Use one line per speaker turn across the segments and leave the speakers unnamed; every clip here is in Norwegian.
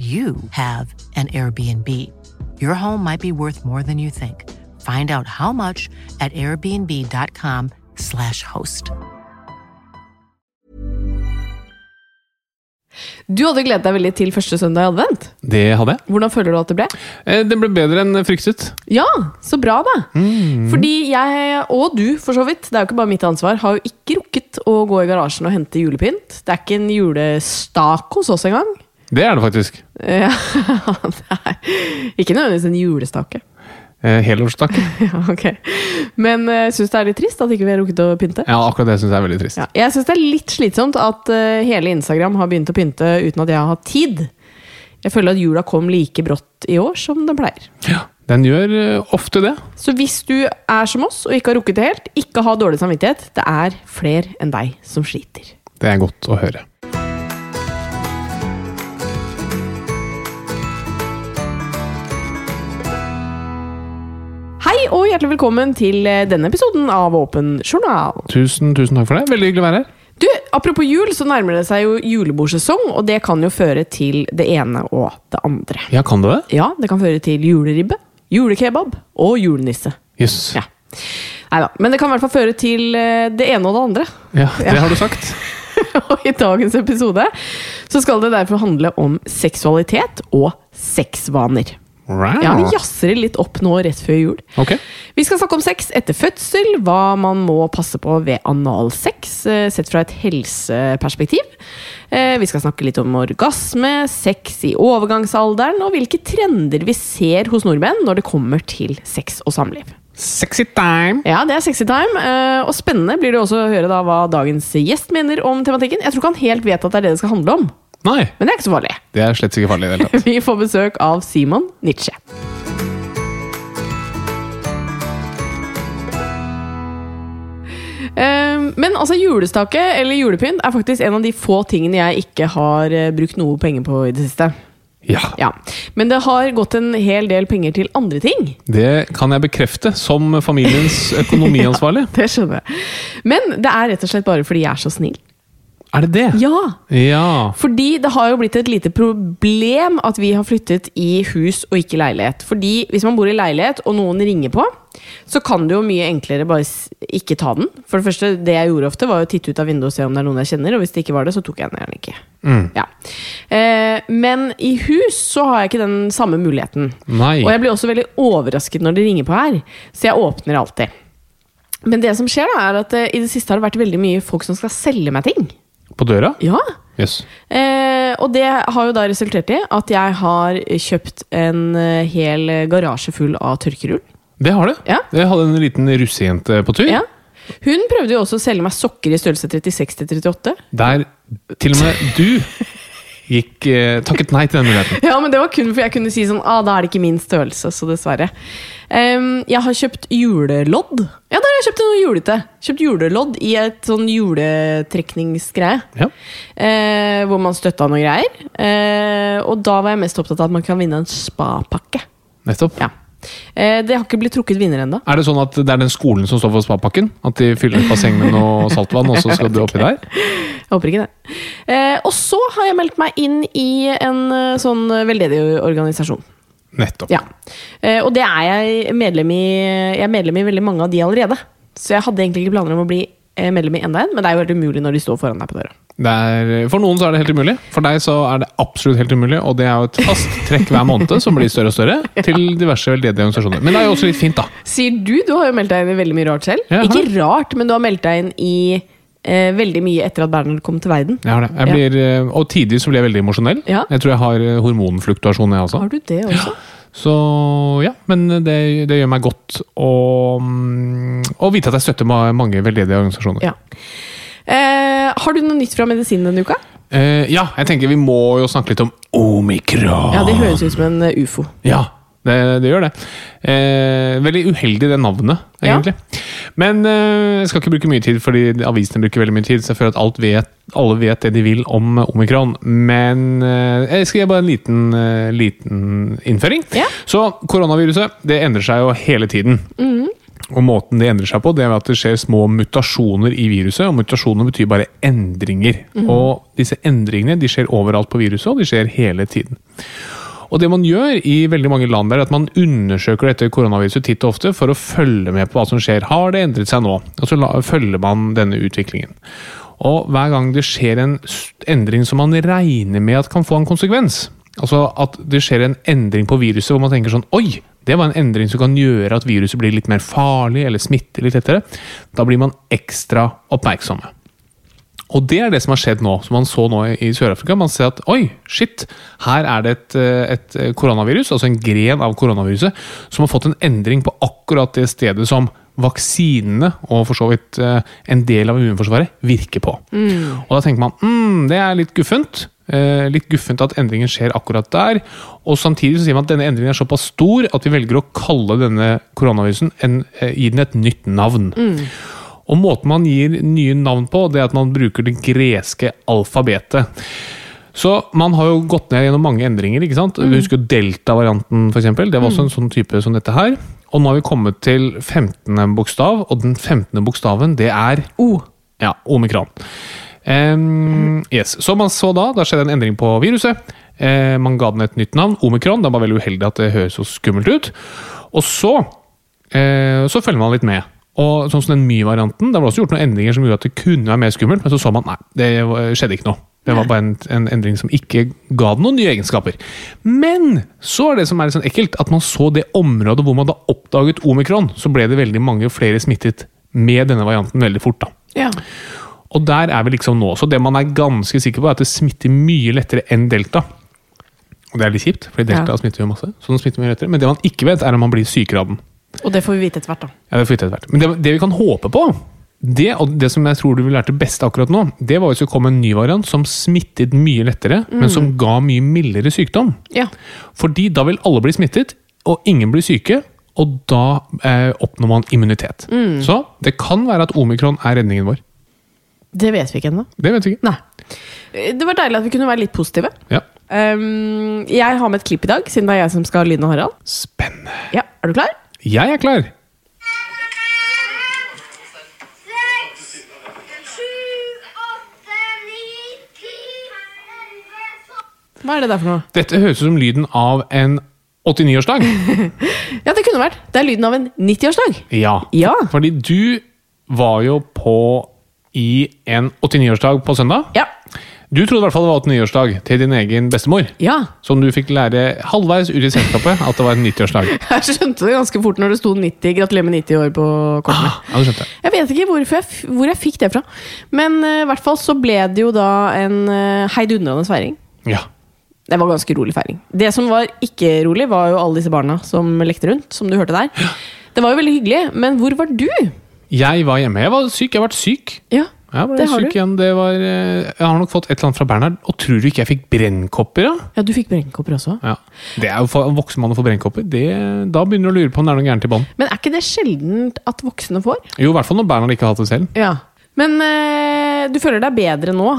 you have an Airbnb. Your home might be worth more than you think. Find out how much at airbnb.com/slash host.
Du hadde gledet deg veldig til første søndag i advent.
Det hadde jeg.
Hvordan føler du at det ble?
Eh, Den ble bedre enn fryktet.
Ja, så bra, da! Fordi jeg, og du for så vidt, det er jo ikke bare mitt ansvar, har jo ikke rukket å gå i garasjen og hente julepynt. Det er ikke en julestak hos oss engang.
Det er det faktisk.
Ja, det er ikke nødvendigvis en julestake.
Eh, Helårsstakke.
Ja, ok. Men jeg syns det er litt trist at ikke vi har rukket å pynte.
Ja, akkurat det syns jeg er veldig trist.
Ja, jeg syns det er litt slitsomt at eh, hele Instagram har begynt å pynte uten at jeg har hatt tid. Jeg føler at jula kom like brått i år som den pleier.
Den gjør eh, ofte det.
Så hvis du er som oss og ikke har rukket det helt, ikke ha dårlig samvittighet. Det er fler enn deg som sliter.
Det er godt å høre.
Hei og hjertelig velkommen til eh, denne episoden av Åpen journal.
Tusen, tusen takk for det. Veldig hyggelig å være her.
Du, Apropos jul, så nærmer det seg jo julebordsesong, og det kan jo føre til det ene og det andre.
Ja, kan du det?
Ja, det kan føre til juleribbe, julekebab og julenisse.
Jøss.
Ja. Neida, Men det kan i hvert fall føre til eh, det ene og det andre.
Ja, det har du sagt.
og i dagens episode så skal det derfor handle om seksualitet og sexvaner.
Wow.
Ja, Vi jazzer det litt opp nå rett før jul.
Ok.
Vi skal snakke om sex etter fødsel, hva man må passe på ved analsex, eh, sett fra et helseperspektiv. Eh, Vi skal snakke litt om orgasme, sex i overgangsalderen, og hvilke trender vi ser hos nordmenn når det kommer til sex og samliv.
Sexy time.
Ja, det er sexy time, eh, og spennende blir det også å høre da hva dagens gjest mener om tematikken. Jeg tror ikke han helt vet at det er det det skal handle om,
Nei,
men det er ikke så farlig.
det er slett ikke farlig i det hele tatt.
Vi får besøk av Simon Nietzsche. Ehm, Men altså julestake eller julepynt er faktisk en av de få tingene jeg ikke har eh, brukt noe penger på i det siste.
Ja,
Ja. Men det har gått en hel del penger til andre ting.
det kan jeg bekrefte som familiens økonomiansvarlig.
Det skjønner jeg. Men det er rett og slett bare fordi jeg er så snill.
Er det det?
Ja,
Ja.
Fordi det har jo blitt et lite problem at vi har flyttet i hus og ikke leilighet. Fordi hvis man bor i leilighet og noen ringer på, så kan du jo mye enklere bare s- ikke ta den. For det første, det jeg gjorde ofte, var jo å titte ut av vinduet og se om det er noen jeg kjenner, og hvis det ikke var det, så tok jeg den gjerne ikke. Ja. Eh, men i hus så har jeg ikke den samme muligheten.
Nei.
Og jeg blir også veldig overrasket når de ringer på her, så jeg åpner alltid. Men det som skjer da, er at eh, i det siste har det vært veldig mye folk som skal selge meg ting.
På døra?
Ja,
Jøss.
Eh, og det har jo da resultert i at jeg har kjøpt en eh, hel garasje full av tørkerull.
Det har du.
Ja.
Jeg hadde en liten russejente på tur.
Ja. Hun prøvde jo også å selge meg sokker i størrelse 36 til 38.
Der til og med du gikk, eh, takket nei til den muligheten.
Ja, men det var kun for jeg kunne si sånn ah, Da er det ikke min størrelse, så dessverre. Ehm, jeg har kjøpt julelodd. Ja, der har jeg kjøpt noe julete. Kjøpt julelodd i et sånn juletrekningsgreie.
Ja.
Eh, hvor man støtta noe greier. Eh, og da var jeg mest opptatt av at man kan vinne en spapakke.
Nettopp.
Ja. Eh, det har ikke blitt trukket vinner ennå.
Er det sånn at det er den skolen som står for spapakken? At de fyller et basseng med noe saltvann, og så skal du oppi der?
Jeg håper ikke det. Eh, og så har jeg meldt meg inn i en eh, sånn veldedig organisasjon.
Nettopp.
Ja. Eh, og det er jeg medlem i Jeg er medlem i veldig mange av de allerede. Så jeg hadde egentlig ikke planer om å bli eh, medlem i enda en, men det er jo helt umulig når de står foran deg på døra.
Det er, for noen så er det helt umulig. For deg så er det absolutt helt umulig, og det er jo et fast trekk hver måned som blir større og større til diverse veldedige organisasjoner. Men det er jo også litt fint, da.
Sier du, du har jo meldt deg inn i veldig mye rart selv.
Ja, jeg har
ikke rart, men du har meldt deg inn i eh, veldig mye etter at Bernhard kom til verden.
Jeg har det. Jeg blir, eh, Og tidvis så blir jeg veldig emosjonell.
Ja.
Jeg tror jeg har eh, hormonfluktuasjon, jeg også.
Har du det også?
Så ja, men det, det gjør meg godt å, mm, å vite at jeg støtter ma- mange veldedige organisasjoner.
Ja. Eh, har du noe nytt fra medisinen denne uka?
Eh, ja, jeg tenker vi må jo snakke litt om omikron.
Ja, Det høres ut som en eh, ufo.
Ja, det, det gjør det. Eh, veldig uheldig det navnet,
Ja.
egentlig. Men eh, jeg skal ikke bruke mye tid, fordi avisene bruker veldig mye tid, så jeg føler at alt vet, alle vet det de vil om eh, omikron. Men eh, jeg skal gi bare en liten, eh, liten innføring.
Ja.
Så koronaviruset, det endrer seg jo hele tiden.
Mm.
Og måten det endrer seg på, det er ved at det skjer små mutasjoner i viruset. Og mutasjoner betyr bare endringer.
Mm.
Og disse endringene de skjer overalt på viruset, og de skjer hele tiden. Og det man gjør i veldig mange land, er at man undersøker dette koronaviruset titt og ofte for å følge med på hva som skjer. Har det endret seg nå? Og så la, følger man denne utviklingen. Og hver gang det skjer en s- endring som man regner med at kan få en konsekvens, altså at det skjer en endring på viruset hvor man tenker sånn Oi! Det var en endring som kan gjøre at viruset blir litt mer farlig eller smitter litt lettere. Da blir man ekstra oppmerksomme. Og det er det som har skjedd nå, som man så nå i- i Sør-Afrika. Man ser at oi, shit, her er det et, eh, et koronavirus, altså en gren av koronaviruset, som har fått en endring på akkurat det stedet som vaksinene og for så vidt eh, en del av immunforsvaret virker på. Og da tenker man mm, det er litt guffent. Eh, litt guffent at endringen skjer akkurat der. Og samtidig så sier man at denne endringen er såpass stor at vi velger å kalle denne koronavirusen en, eh, gi den et nytt navn. Og måten man gir nye navn på, det er at man bruker det greske alfabetet. Så man har jo gått ned gjennom mange endringer. ikke sant? Du husker jo delta-varianten, for eksempel. Det var også en sånn type som dette her. Og nå har vi kommet til 15. bokstav, og den 15. bokstaven, det er O. Ja, omikron. Ehm, yes. Så man så da, da skjedde en endring på viruset. Eh, man ga den et nytt navn, omikron. Det var veldig uheldig at det høres så skummelt ut. Og så eh, så følger man litt med. Og sånn som den my-varianten, der var det også gjort noen endringer som gjorde at det kunne være mer skummelt, men så så man nei, det var- skjedde ikke noe. Det var bare en, en endring som ikke ga den noen nye egenskaper. Men så er det som er litt sånn ekkelt, at man så det området hvor man da oppdaget omikron, så ble det veldig mange flere smittet med denne varianten veldig fort. da.
Ja.
Og der er vi liksom nå. Så det man er ganske sikker på, er at det smitter mye lettere enn delta. Og det er litt kjipt, for delta
Ja.
smitter jo masse. Så den smitter mye lettere. Men det man ikke vet, er om man blir sykere av den.
Og det får vi vite etter hvert, da.
Ja, det får vi vite etter hvert. Men det, det vi kan håpe på, det, og det som jeg tror du vil lære det beste akkurat nå, det var hvis det kom en ny variant som smittet mye lettere, men som ga mye mildere sykdom.
Ja.
Fordi da vil alle bli smittet, og ingen blir syke, og da eh, oppnår man immunitet. Så det kan være at omikron er redningen vår.
Det vet vi ikke ennå.
Det vet vi ikke.
Nei. Eh, Det var deilig at vi kunne være litt positive.
Ja.
Ehm, jeg har med et klipp i dag, siden det er jeg som skal ha lyden av Harald.
Spennende.
Ja, Er du klar?
Jeg er klar.
seks, sju, åtte, ni, ti, elleve, tolv
Hva er det der for noe?
Dette høres ut som lyden av en 89-årsdag.
Ja, det kunne vært. Det er lyden av en 90-årsdag.
Ja.
Ja.
Fordi du var jo på i en 89-årsdag på søndag.
Ja.
Du trodde i hvert fall det var 89-årsdag til din egen bestemor.
ja.
Som du fikk lære halvveis ut i selskapet at det var en 90-årsdag.
Jeg skjønte det ganske fort når det sto 90. Gratulerer med 90 år på kortene.
Ja, du skjønte.
Jeg vet ikke hvorfor jeg, f- hvor jeg fikk det fra. Men eh, i hvert fall så ble det jo da en uh, heidundrende feiring.
Ja.
Det var ganske rolig feiring. Det som var ikke rolig, var jo alle disse barna som lekte rundt. Som du hørte der. Det var jo veldig hyggelig, men hvor var du?
Jeg var hjemme. Jeg var syk. Jeg har vært syk.
Ja.
Ja, ble
Det har
syk
du.
igjen. Det var, eh, jeg har nok fått et eller annet fra Bernhard. Og tror du ikke jeg fikk brennkopper, da?
Ja, du fikk brennkopper også.
Ja. Det er jo for, en voksen mann å få brennkopper. Det, da begynner du å lure på om det er noe gærent i bånd.
Men er ikke det sjeldent at voksne får?
Jo, i hvert fall når Bernhard ikke har hatt det selv.
Ja. Men eh, du føler deg bedre nå?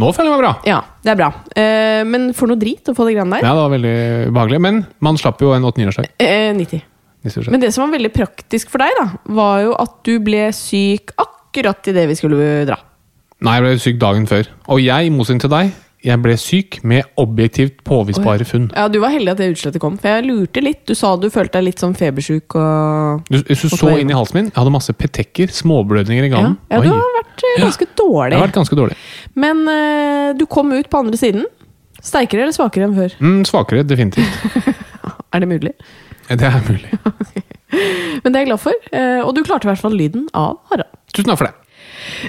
Nå føler jeg meg bra.
Ja, det er bra. Eh, men for noe drit å få det greiene der.
Ja, det var veldig ubehagelig. Men man slapp jo en 8-9-årsdag.
Eh, 90.
neste år.
Men det som var veldig praktisk for deg, da, var jo at du ble syk akkurat idet vi skulle dra.
Mm. Nei, jeg ble syk dagen før. Og jeg, i motsetning til deg, jeg ble syk med objektivt påvisbare funn.
Ja, Du var heldig at det utslettet kom, for jeg lurte litt. Du sa du følte deg litt sånn febersjuk og
Du, hvis du
Og
så
så-
inn i halsen min, jeg hadde masse petekker, småblødninger i
Ja,
ganen.
Sånn? ja
Oi,
du har vært eh, ganske
det
dårlig.
har vært ganske dårlig.
Men eh, du kom ut på andre siden. Sterkere eller svakere enn før?
Mm, svakere, definitivt.
Er det mulig?
Det er mulig.
Men det er jeg glad for. eh, Og du klarte i hvert fall lyden av Harald.
Tusen takk for det.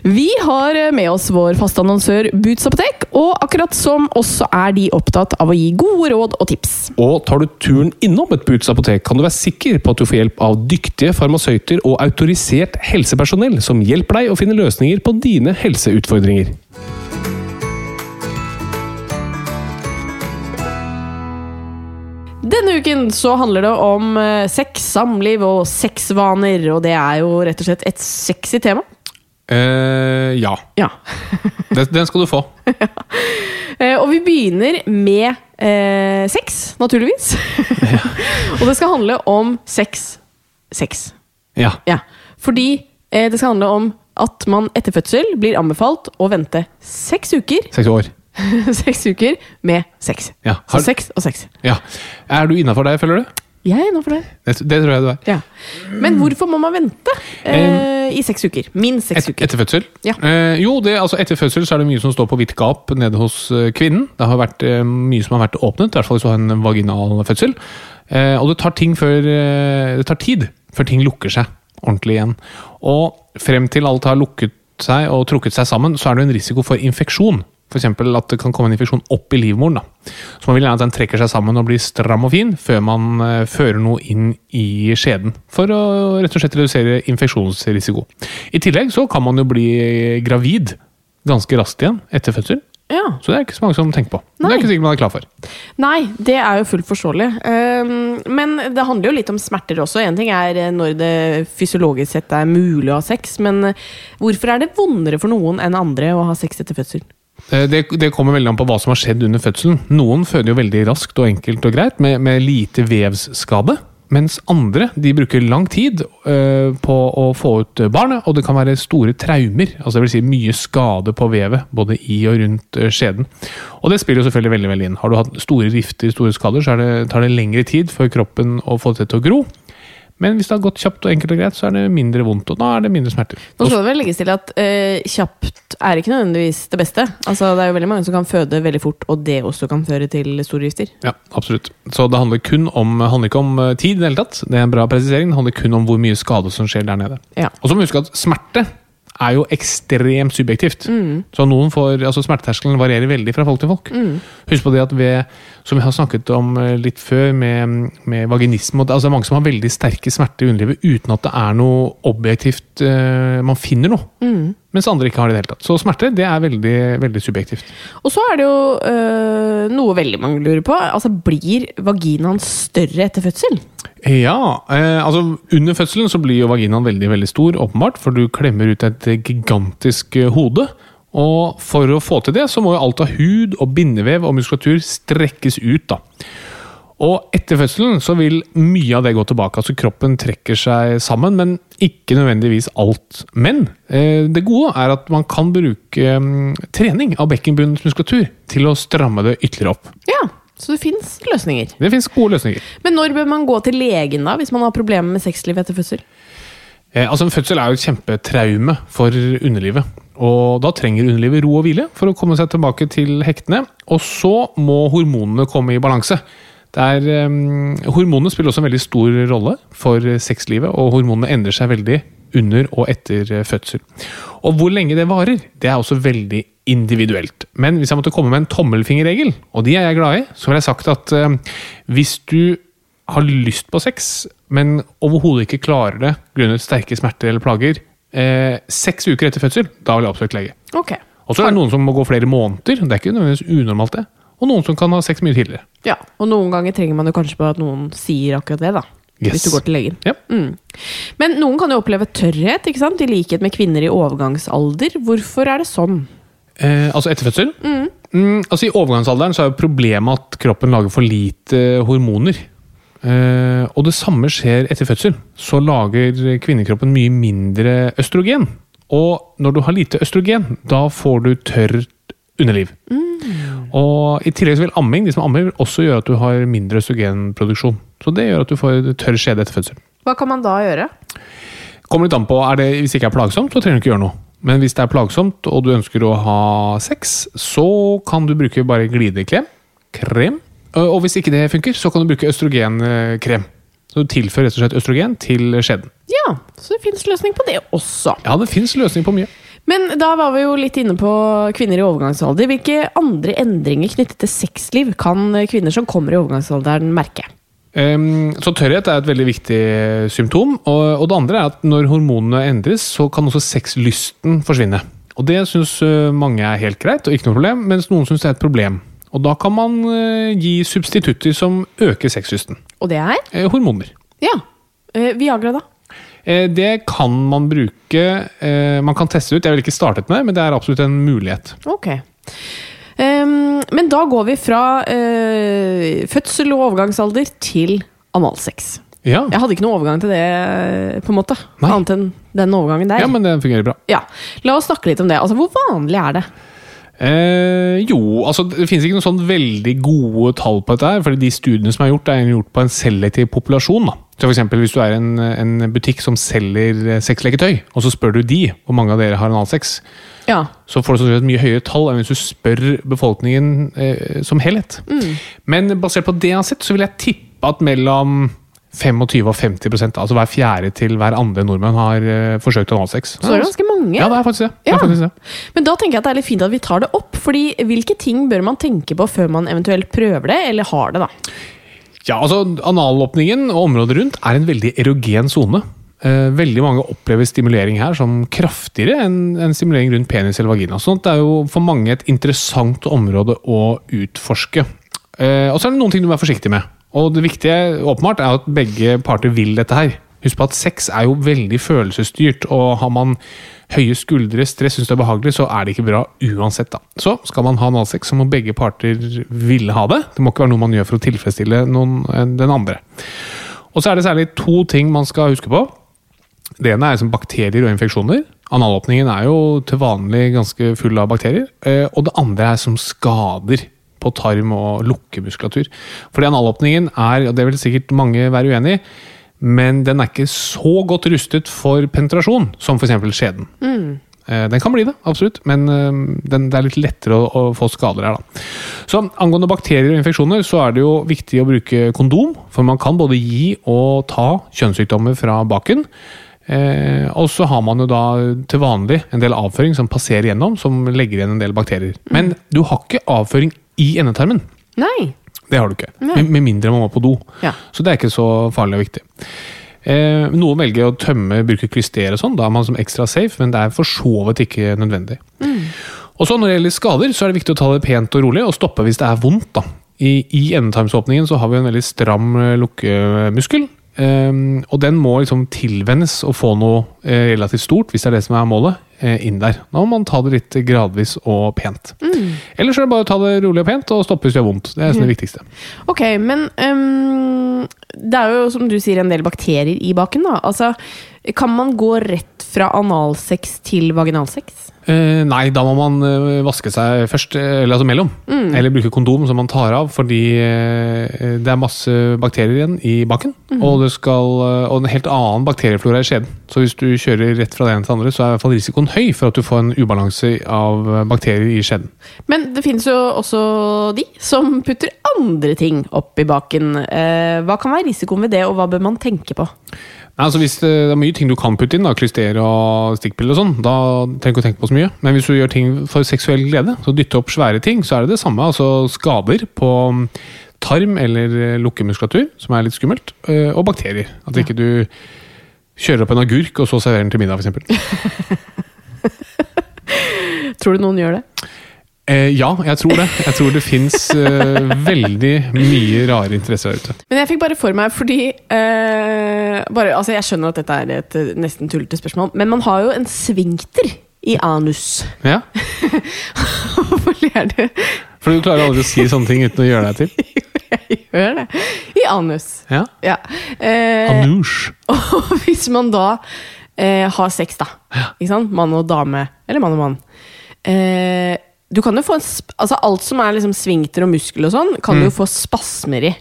Vi har eh, med oss vår faste annonsør Boots Apotek, og akkurat som også er de opptatt av å gi gode råd og tips.
Og tar du turen innom et Boots apotek, kan du være sikker på at du får hjelp av dyktige farmasøyter og autorisert helsepersonell som hjelper deg å finne løsninger på dine helseutfordringer.
Denne uken så handler det om eh, sex, samliv og sexvaner, og det er jo rett og slett et sexy tema.
eh ja.
Ja.
Den, den skal du få.
Eh, Og vi begynner med eh, sex, naturligvis. og det skal handle om sex. Sex.
Ja.
Ja. Fordi eh, det skal handle om at man etter fødsel blir anbefalt å vente seks uker,
Seks år.
seks uker med sex.
Ja. Har-
Så sex og sex.
Ja. Er du innafor der, føler du?
Jeg er nå for det.
Det, det tror jeg du er.
Ja. Men hvorfor må man vente eh, i seks uker? Minst seks
Et,
uker.
etter fødsel?
Ja.
Eh, jo, det, altså etter fødsel så er det mye som står på vidt gap nede hos eh, kvinnen. Det har vært eh, mye som har vært åpnet, i hvert fall hvis du har en vaginal fødsel. Eh, og det tar, ting før, eh, det tar tid før ting lukker seg ordentlig igjen. Og frem til alt har lukket seg og trukket seg sammen, så er det en risiko for infeksjon. F.eks. at det kan komme en infeksjon opp i livmoren. Da. Så man vil gjerne at den trekker seg sammen og blir stram og fin før man eh, fører noe inn i skjeden. For å rett og slett redusere infeksjonsrisiko. I tillegg så kan man jo bli gravid ganske raskt igjen etter fødsel.
Ja.
Så det er ikke så mange som tenker på. Det
Nei.
er ikke sikkert man er klar for.
Nei, det er jo fullt forståelig. Ehm, men det handler jo litt om smerter også. En ting er eh, når det fysiologisk sett er mulig å ha sex, men eh, hvorfor er det vondere for noen enn andre å ha sex etter fødsel?
Eh, Det, det kommer veldig an på hva som har skjedd under fødselen. Noen føder jo veldig raskt og enkelt og greit, med, med lite vevsskade. Mens andre de bruker lang tid eh, på å få ut eh, barnet, og det kan være store traumer. altså det vil si Mye skade på vevet, både i og rundt eh, skjeden. Og det spiller jo selvfølgelig veldig veldig inn. Har du hatt store rifter, store skader, så er det, tar det lengre tid for kroppen å få det til å gro. Men hvis det har gått kjapt og enkelt og greit, så er det mindre vondt, og da er det mindre smerter.
Nå skal det vel legges til at eh, kjapt er ikke nødvendigvis det beste. Altså, det er jo veldig mange som kan føde veldig fort, og det også kan føre til store gifter.
Ja, absolutt. Så det handler kun om, handler ikke om eh, tid i det hele tatt. Det er en bra presisering. Det handler kun om hvor mye skade som skjer der nede.
Ja.
Og så må vi huske at smerte er jo ekstremt subjektivt. Så noen får, altså Smerteterskelen varierer veldig fra folk til folk. Husk på det at ved, som vi har snakket om eh, litt før, med, med vaginisme og det- altså Det er mange som har veldig sterke smerter i underlivet uten at det er noe objektivt eh, Man finner noe. Mens andre ikke har det i det hele tatt. Så smerte det er veldig, veldig subjektivt.
Og så er det jo eh, noe veldig mange lurer på. Altså, blir vaginaen større etter fødsel?
Ja, eh, altså under fødselen så blir jo vaginaen veldig, veldig stor, åpenbart, for du klemmer ut et gigantisk eh, hode. Og for å få til det, så må jo alt av hud og bindevev og muskulatur strekkes ut, da. Og etter fødselen så vil mye av det gå tilbake. Altså kroppen trekker seg sammen, men ikke nødvendigvis alt. Men eh, det gode er at man kan bruke eh, trening av bekkenbunnens muskulatur til å stramme det ytterligere opp.
Ja, så det fins løsninger.
Det fins gode løsninger.
Men når bør man gå til legen da, hvis man har problemer med sexlivet etter fødsel?
Eh, altså En fødsel er jo et kjempetraume for underlivet. Og Da trenger underlivet ro og hvile for å komme seg tilbake til hektene. Og så må hormonene komme i balanse. Det er, eh, hormonene spiller også en veldig stor rolle for eh, sexlivet, og hormonene endrer seg veldig under og etter eh, fødsel. Og Hvor lenge det varer, det er også veldig individuelt. Men hvis jeg måtte komme med en tommelfingerregel, og de er jeg glad i, så ville jeg sagt at eh, hvis du har lyst på sex, men overhodet ikke klarer det grunnet sterke smerter eller plager, eh, seks uker etter fødsel, da vil jeg oppsøke lege.
Ok.
Og så er det noen som må gå flere måneder, det er ikke nødvendigvis unormalt det. Og noen som kan ha sex mye tidligere.
Ja, Og noen ganger trenger man jo kanskje på at noen sier akkurat det, da.
Yes.
Hvis du går til legen.
Ja.
Mm. Men noen kan jo oppleve tørrhet, ikke sant? i likhet med kvinner i overgangsalder. Hvorfor er det sånn?
Eh, altså etter fødsel? Mm, altså I overgangsalderen så er jo problemet at kroppen lager for lite hormoner. Eh, og det samme skjer etter fødsel. Så lager kvinnekroppen mye mindre østrogen. Og når du har lite østrogen, da får du tørt underliv. Og i tillegg så vil amming de som ammer, vil også gjøre at du har mindre østrogenproduksjon. Så det gjør at du får tørr skjede etter fødsel.
Hva kan man da gjøre?
Kommer litt an på, er det, Hvis det ikke er plagsomt, så trenger du ikke gjøre noe. Men hvis det er plagsomt, og du ønsker å ha sex, så kan du bruke bare glidekrem. Krem. Og og hvis ikke det funker, så kan du bruke østrogenkrem. Så du tilfører rett og slett østrogen til skjeden.
Ja, så det fins løsning på det også.
Ja, det fins løsning på mye.
Men da var vi jo litt inne på kvinner i overgangsalder. Hvilke andre endringer knyttet til sexliv kan kvinner som kommer i overgangsalderen merke?
Ehm, så tørrhet er et veldig viktig eh, symptom. Og, og det andre er at når hormonene endres, så kan også sexlysten forsvinne. Og det syns mange er helt greit og ikke noe problem, mens noen syns det er et problem. Og da kan man eh, gi substitutter som øker sexlysten.
Og det er
Eh, Hormoner.
ja, eh, Viagra, da.
Eh, Det kan man bruke. eh, Man kan teste det ut. Jeg ville ikke startet med det, men det er absolutt en mulighet.
Ok. Ehm, men da går vi fra eh, fødsel og overgangsalder til analsex.
Ja,
Jeg hadde ikke noe overgang til det, på en måte.
Nei.
Annet enn den overgangen der.
ja men det fungerer bra.
Ja. La oss snakke litt om det. Altså, Hvor vanlig er det?
Eh, jo, altså det finnes ikke noen sånn veldig gode tall på dette her, fordi de studiene som er gjort, er gjort på en selektiv populasjon. da. Så for eksempel, Hvis du er en, en butikk som selger eh, sexleketøy, og så spør du de hvor mange av dere har analsex,
Ja.
så får du sannsynligvis et mye høyere tall enn hvis du spør befolkningen eh, som helhet.
Mm.
Men basert på det jeg har sett, så vil jeg tippe at mellom 25 og 50 altså hver fjerde til hver andre nordmenn, har eh, forsøkt analsex.
Så det er ganske mange.
Ja, det er faktisk det. det,
Ja.
er faktisk det.
Men da tenker jeg at det er litt fint at vi tar det opp. fordi hvilke ting bør man tenke på før man eventuelt prøver det, eller har det, da?
Ja, altså Analåpningen og området rundt er en veldig erogen sone. Eh, veldig mange opplever stimulering her som kraftigere enn enn stimulering rundt penis eller vagina. sånn at det er jo for mange et interessant område å utforske. Eh, og så er det noen ting du må være forsiktig med. Og det viktige åpenbart er at begge parter vil dette her. Husk på at sex er jo veldig følelsesstyrt, og har man høye skuldre, stress, syns det er behagelig, så er det ikke bra uansett, da. Så skal man ha analsex, så må begge parter ville ha det. Det må ikke være noe man gjør for å tilfredsstille noen, eh, den andre. Og så er det særlig to ting man skal huske på. Det ene er som bakterier og infeksjoner. Analåpningen er jo til vanlig ganske full av bakterier. Eh, Og det andre er som skader på tarm og lukkemuskulatur. Fordi analåpningen er, og det vil sikkert mange være uenig i, men den er ikke så godt rustet for penetrasjon som f.eks. skjeden. Eh, Den kan bli det, absolutt, men eh, den, det er litt lettere å, å få skader her. Da. Så Angående bakterier og infeksjoner så er det jo viktig å bruke kondom. For man kan både gi og ta kjønnssykdommer fra baken. Eh, og så har man jo da til vanlig en del avføring som passerer gjennom, som legger igjen en del bakterier.
Mm.
Men du har ikke avføring i endetarmen.
Nei.
Det har du ikke. Med, med mindre man må på do.
Ja.
Så det er ikke så farlig og viktig. Eh, noen velger å tømme, bruke klyster og sånn. Da er man som ekstra safe, men det er for så vidt ikke nødvendig.
Mm.
Og så Når det gjelder skader, så er det viktig å ta det pent og rolig, og stoppe hvis det er vondt. da. I, i endetarmsåpningen så har vi en veldig stram eh, lukkemuskel. ehm, og den må liksom tilvennes og få noe eh, relativt stort, hvis det er det som er målet, eh, inn der. Da må man ta det litt gradvis og pent. Ellers er det bare å ta det rolig og pent, og stoppe hvis det gjør vondt. Det er nesten det viktigste.
Ok, men øhm, det er jo som du sier en del bakterier i baken, da. Altså, kan man gå rett fra analsex til vaginalsex?
Eh, nei, da må man eh, vaske seg først, eh, eller altså mellom. Eller bruke kondom som man tar av, fordi eh, det er masse bakterier igjen i baken. Og, det skal, eh, og en helt annen bakterieflora i skjeden. Så hvis du kjører rett fra det ene til det andre, så er i hvert fall risikoen høy for at du får en ubalanse av eh, bakterier i skjeden.
Men det finnes jo også de som putter andre ting opp i baken. Eh, hva kan være risikoen ved det, og hva bør man tenke på?
Nei, altså Hvis det det er mye ting du kan putte inn, da, klyster og stikkpiller og sånn, da trenger du ikke å tenke på så mye. Men hvis du gjør ting for seksuell glede, så dytte opp svære ting, så er det det samme. Altså skader på mm, tarm eller eh, lukkemuskulatur, som er litt skummelt, eh, og bakterier. At ikke du Kjører opp en agurk, og så serverer den til middag, f.eks.
Tror du noen gjør det?
Eh, ja, jeg tror det. Jeg tror det fins eh, veldig mye rare interesser der ute.
Men jeg fikk bare for meg, fordi eh, bare, altså Jeg skjønner at dette er et eh, nesten tullete spørsmål, men man har jo en svingter i anus.
Ja,
Hvorfor ler du?
For du klarer aldri å si sånne ting uten å gjøre deg til.
Jo, jeg gjør det. I anus.
Ja.
Ja. Eh,
Anoush.
og hvis man da eh, har sex, da. Ikke sant? Mann og dame. Eller mann og mann. Eh, du kan jo få en sp altså Alt som er liksom svingter og muskel og sånn, kan du jo få spasmer i.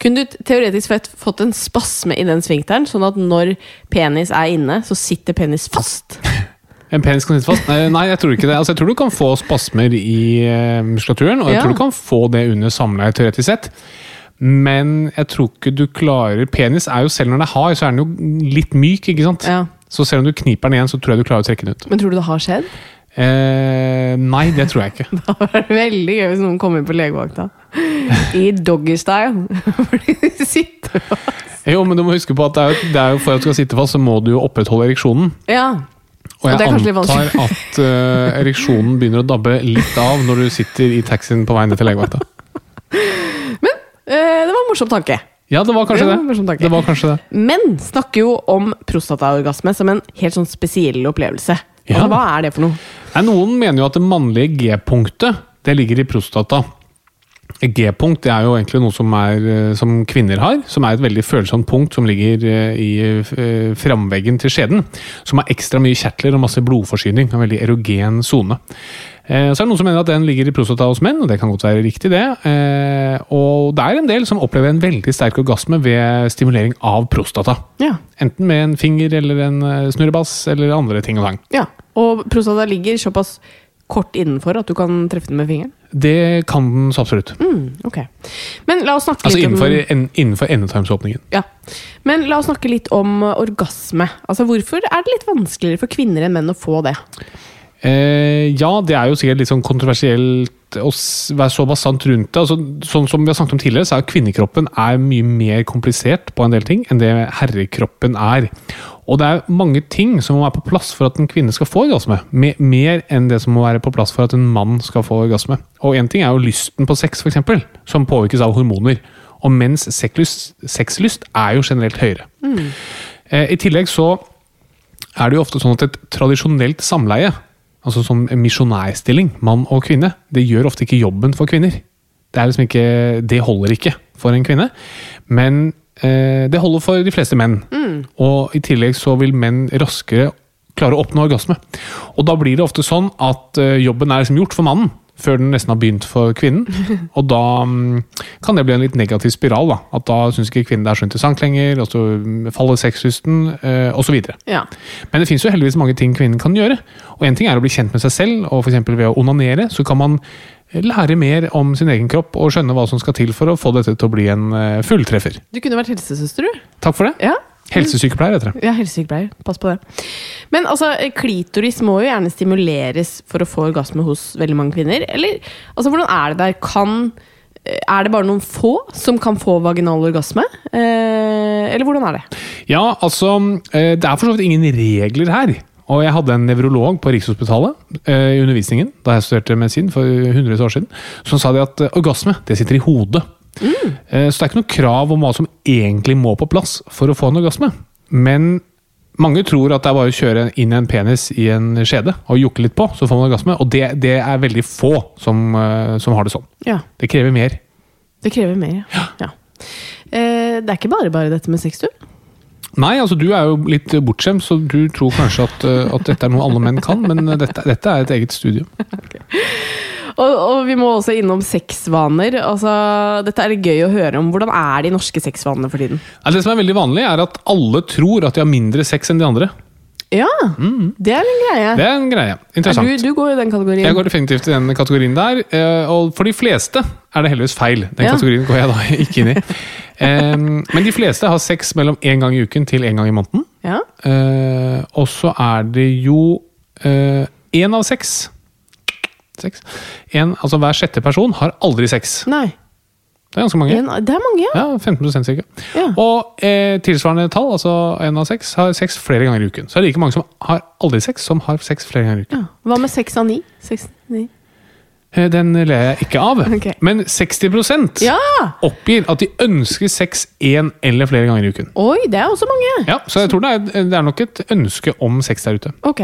Kunne du t- teoretisk fett fått en spasme i den svingteren, sånn at når penis er inne, så sitter penis fast?
En penis kan sitte fast? Nei, nei, jeg tror ikke det. Altså, jeg tror du kan få spasmer i eh, muskulaturen, og jeg
Ja.
tror du kan få det under samleie, teoretisk sett. Men jeg tror ikke du klarer Penis er jo, selv når den er hard, så er den jo litt myk, ikke sant?
Ja.
Så selv om du kniper den igjen, så tror jeg du klarer å trekke den ut.
Men tror du det har skjedd?
Eh, nei, det tror jeg ikke.
Det hadde vært veldig gøy hvis noen kom inn på legevakta i doggystyle. Fordi de sitter og
Jo, men du må huske på at det er jo, det er jo for at du skal sitte fast, så må du jo opprettholde ereksjonen.
Ja.
Og
Og det
jeg
er kanskje litt
antar
vanskelig.
at eh, ereksjonen begynner å dabbe litt av når du sitter i taxien på veien ned til legevakta.
Eh, det var en morsom tanke.
Ja, det var
Det
kanskje
var
det.
en morsom tanke.
Det var kanskje det.
Menn snakker jo om prostataorgasme som en helt sånn spesiell opplevelse.
Ja.
Altså, hva er det for noe?
Nei, noen mener jo at det mannlige G-punktet det ligger i prostata. G-punkt det er jo egentlig noe som, er, eh, som kvinner har, som er et veldig følsomt punkt som ligger eh, i eh, framveggen til skjeden. Som har ekstra mye kjertler og masse blodforsyning. En veldig erogen sone. Eh, Så er det noen som mener at den ligger i prostata hos menn, og det kan godt være riktig, det. Eh, Og det er en del som opplever en veldig sterk orgasme ved stimulering av prostata.
Ja.
Enten med en finger eller en eh, snurrebass eller andre ting og tang.
ja. Og prostata ligger såpass kort innenfor at du kan treffe den med fingeren.
Det kan den så absolutt.
Mm, ok. Men la oss snakke
Altså
litt
innenfor,
om
en, innenfor endetarmsåpningen.
ja. Men la oss snakke litt om eh, orgasme. Altså, hvorfor er det litt vanskeligere for kvinner enn menn å få det?
Eh, ja, det er jo sikkert litt sånn kontroversielt å s- være så bastant rundt det. Altså, sånn som vi har snakket om tidligere, så er jo kvinnekroppen er mye mer komplisert på en del ting enn det herrekroppen er. Og det er mange ting som må være på plass for at en kvinne skal få orgasme. Me- Mer enn det som må være på plass for at en mann skal få orgasme. Og én ting er jo lysten på sex, f.eks., som påvirkes av hormoner. Og menns sexlyst, sexlyst er jo generelt høyere. Eh, I tillegg så er det jo ofte sånn at et tradisjonelt samleie, altså som en misjonærstilling, mann og kvinne, det gjør ofte ikke jobben for kvinner. Det, er liksom ikke, det holder ikke for en kvinne, men eh, det holder for de fleste menn. Og i tillegg så vil menn raskere klare å oppnå orgasme. Og da blir det ofte sånn at eh, jobben er liksom gjort for mannen, før den nesten har begynt for kvinnen. Og da mm, kan det bli en litt negativ spiral. da. At da syns ikke kvinnen det er så interessant lenger, og så mm, faller sexlysten, eh, osv.
Ja.
Men det finnes jo heldigvis mange ting kvinnen kan gjøre. Og en ting er å bli kjent med seg selv, og for eksempel ved å onanere, så kan man eh, lære mer om sin egen kropp og skjønne hva som skal til for å få dette til å bli en eh, fulltreffer.
Du kunne vært helsesøster, du.
Takk for det.
Ja.
Helsesykepleier heter det.
Ja, helsesykepleier. Pass på det. Men altså, klitoris må jo gjerne stimuleres for å få orgasme hos veldig mange kvinner. Eller altså, hvordan er det der? Kan eh, Er det bare noen få som kan få vaginal orgasme? Eh, eller hvordan er det?
Ja, altså eh, Det er for så vidt ingen regler her. Og jeg hadde en nevrolog på Rikshospitalet eh, i undervisningen da jeg studerte medisin for hundrevis av år siden, som sa det at eh, orgasme det sitter i hodet. Eh, Så det er ikke noe krav om hva som egentlig må på plass for å få en orgasme. Men mange tror at det er bare å kjøre inn en penis i en skjede og jukke litt på, så får man orgasme. Og det, det er veldig få som, eh, som har det sånn.
Ja,
Det krever mer.
Det krever mer, ja. ja. Eh, det er ikke bare bare dette med sex, du.
Nei, altså du er jo litt bortskjemt, så du tror kanskje at, eh, at dette er noe alle menn kan, men eh, dette, dette er et eget studium.
Og, og vi må også innom sexvaner. Altså, dette er gøy å høre om. Hvordan er de norske sexvanene for tiden?
Nei, Det som er veldig vanlig, er at alle tror at de har mindre sex enn de andre.
Ja, Mm. det er en greie.
Det er en greie.
Er
Interessant.
du, du går jo i den kategorien.
Jeg går definitivt i den kategorien der, eh, og for de fleste er det heldigvis feil. Den
Ja.
kategorien går jeg da ikke inn i. Em, Men de fleste har sex mellom én gang i uken til én gang i måneden.
Ja.
Eh, Og så er det jo én av seks Seks. En, altså Hver sjette person har aldri sex.
Nei.
Det er ganske mange.
En, det er mange, ja.
Ja, 15 cirka.
Ja.
Og eh, tilsvarende tall, altså én av seks, har sex flere ganger i uken. Så det er like mange som har aldri sex, som har sex flere ganger i uken.
ja. Hva med seks av ni? Seks, ni?
Eh, Den ler jeg ikke av.
Ok.
Men 60
Ja!
oppgir at de ønsker sex én eller flere ganger i uken.
Oi, det er også mange.
Ja, Så jeg tror det er, det er nok et ønske om sex der ute.
Ok.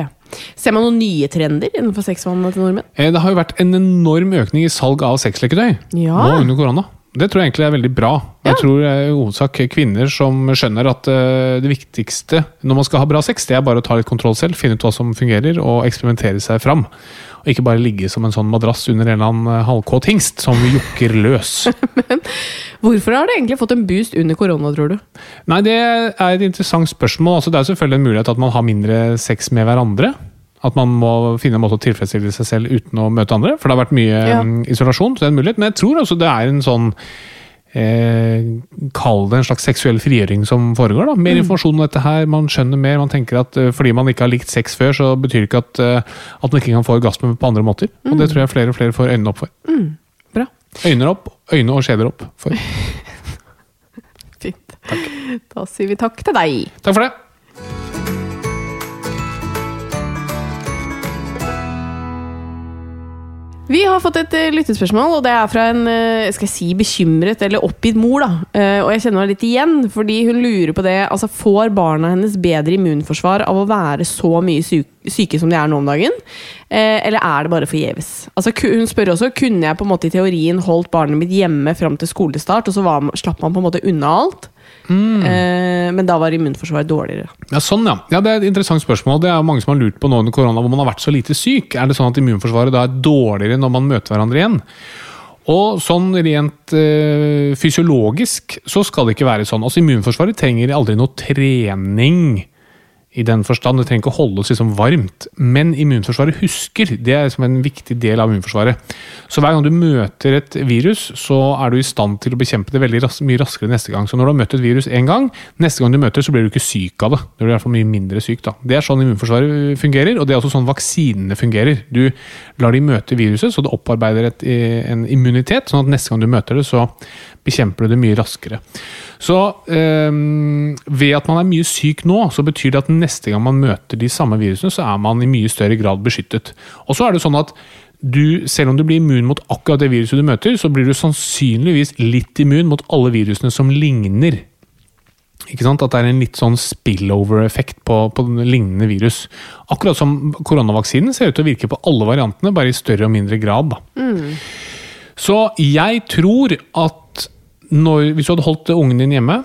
Ser man noen nye trender innenfor sexvanene til nordmenn?
Eh, Det har jo vært en enorm økning i salg av sexleketøy
Ja.
nå under korona. Det tror jeg egentlig er veldig bra. Jeg tror det er i hovedsak kvinner som skjønner at eh, det viktigste når man skal ha bra sex, det er bare å ta litt kontroll selv, finne ut hva som fungerer, og eksperimentere seg fram. Og ikke bare ligge som en sånn madrass under en eller annen eh, halvkåt hingst som jokker løs.
Hvorfor har det egentlig fått en boost under korona, tror du?
Nei, det er et interessant spørsmål. Altså, det er jo selvfølgelig en mulighet at man har mindre sex med hverandre. At man må finne en måte å tilfredsstille seg selv uten å møte andre. For det har vært mye
Ja.
mm, isolasjon, så det er en mulighet. Men jeg tror også det er en sånn eh, Kall det en slags seksuell frigjøring som foregår. da.
Mm.
Mer informasjon om dette her, man skjønner mer. Man tenker at eh, fordi man ikke har likt sex før, så betyr det ikke at, eh, at man ikke kan få orgasme på andre måter. Og det tror jeg flere og flere får øynene opp for.
Mm. Bra.
Øyne opp, øyne og skjeder opp for.
Fint. Da sier vi takk til deg.
Takk for det!
Vi har fått et eh, lyttespørsmål, og det er fra en eh, skal jeg si, bekymret eller oppgitt mor. da. Eh, Og jeg kjenner henne litt igjen, fordi hun lurer på det. altså Får barna hennes bedre immunforsvar av å være så mye syk- syke som de er nå om dagen? Eh, Eller er det bare forgjeves? Altså, ku- hun spør også kunne jeg på en måte i teorien holdt barnet mitt hjemme fram til skolestart, og så var, slapp man på en måte unna alt. Eh, Men da var immunforsvaret dårligere.
Ja, sånn, ja. ja. Det er et interessant spørsmål. Det er jo mange som har lurt på nå under korona hvor man har vært så lite syk. Er det sånn at immunforsvaret da er dårligere når man møter hverandre igjen? Og sånn rent eh, fysiologisk så skal det ikke være sånn. Altså Immunforsvaret trenger aldri noe trening i den forstand. Det trenger ikke å holdes liksom varmt. Men immunforsvaret husker. Det er liksom en viktig del av immunforsvaret. Så hver gang du møter et virus, så er du i stand til å bekjempe det veldig ras mye raskere neste gang. Så når du har møtt et virus én gang, neste gang du møter, så blir du ikke syk av det. Du blir i hvert fall mye mindre syk. da. Det er sånn immunforsvaret fungerer, og det er også sånn vaksinene fungerer. Du lar de møte viruset, så det opparbeider et, eh, en immunitet, sånn at neste gang du møter det, så bekjemper du det mye raskere. Så øhm, ved at man er mye syk nå, så betyr det at neste gang man møter de samme virusene, så er man i mye større grad beskyttet. Og så er det sånn at du, selv om du blir immun mot akkurat det viruset du møter, så blir du sannsynligvis litt immun mot alle virusene som ligner. Ikke sant? At det er en litt sånn spillover-effekt på, på den lignende virus. Akkurat som koronavaksinen ser ut til å virke på alle variantene, bare i større og mindre grad. Da. Så jeg tror at når, hvis du hadde holdt ungen din hjemme,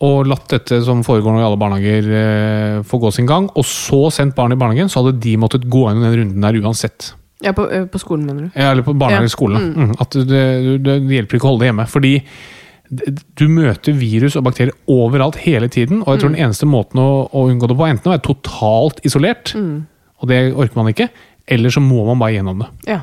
og latt dette som foregår nå i alle barnehager eh, få gå sin gang, og så sendt barn i barnehagen, så hadde de måttet gå gjennom den runden der uansett.
Ja, på, ø, på skolen, mener du?
Ja, Eller på barnehage
Ja.
eller skole. Mm. At det, det, det hjelper ikke å holde det hjemme. Fordi d- du møter virus og bakterier overalt hele tiden. Og jeg tror den eneste måten å, å unngå det på, er enten å være totalt isolert, og det orker man ikke, eller så må man bare gjennom det.
Ja.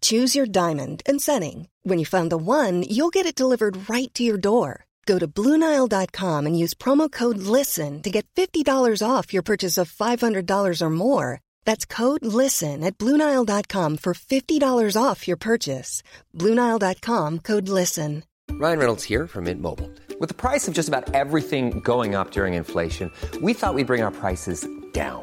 Choose your diamond and setting. When you find the one, you'll get it delivered right to your door. Go to Bluenile.com and use promo code LISTEN to get $50 off your purchase of $500 or more. That's code LISTEN at Bluenile.com for $50 off your purchase. Bluenile.com code LISTEN.
Ryan Reynolds here from Mint Mobile. With the price of just about everything going up during inflation, we thought we'd bring our prices down.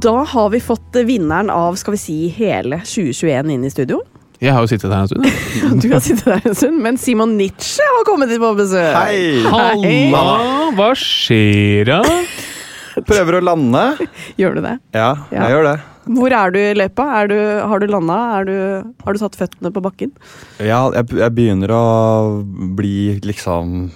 da har vi fått eh, vinneren av skal vi si, hele 2021 inn i studio.
Jeg har jo sittet her en stund.
Du kan sitte der en stund, men Simon Nietzsche har kommet hit på besøk.
Hei!
Halla, hva skjer da?
Prøver å lande.
Gjør du det?
Ja,
Ja.
jeg gjør det.
Hvor er du i løypa? Er du, har du landa? Er du, har du satt føttene på bakken?
Ja, jeg, jeg begynner å bli liksom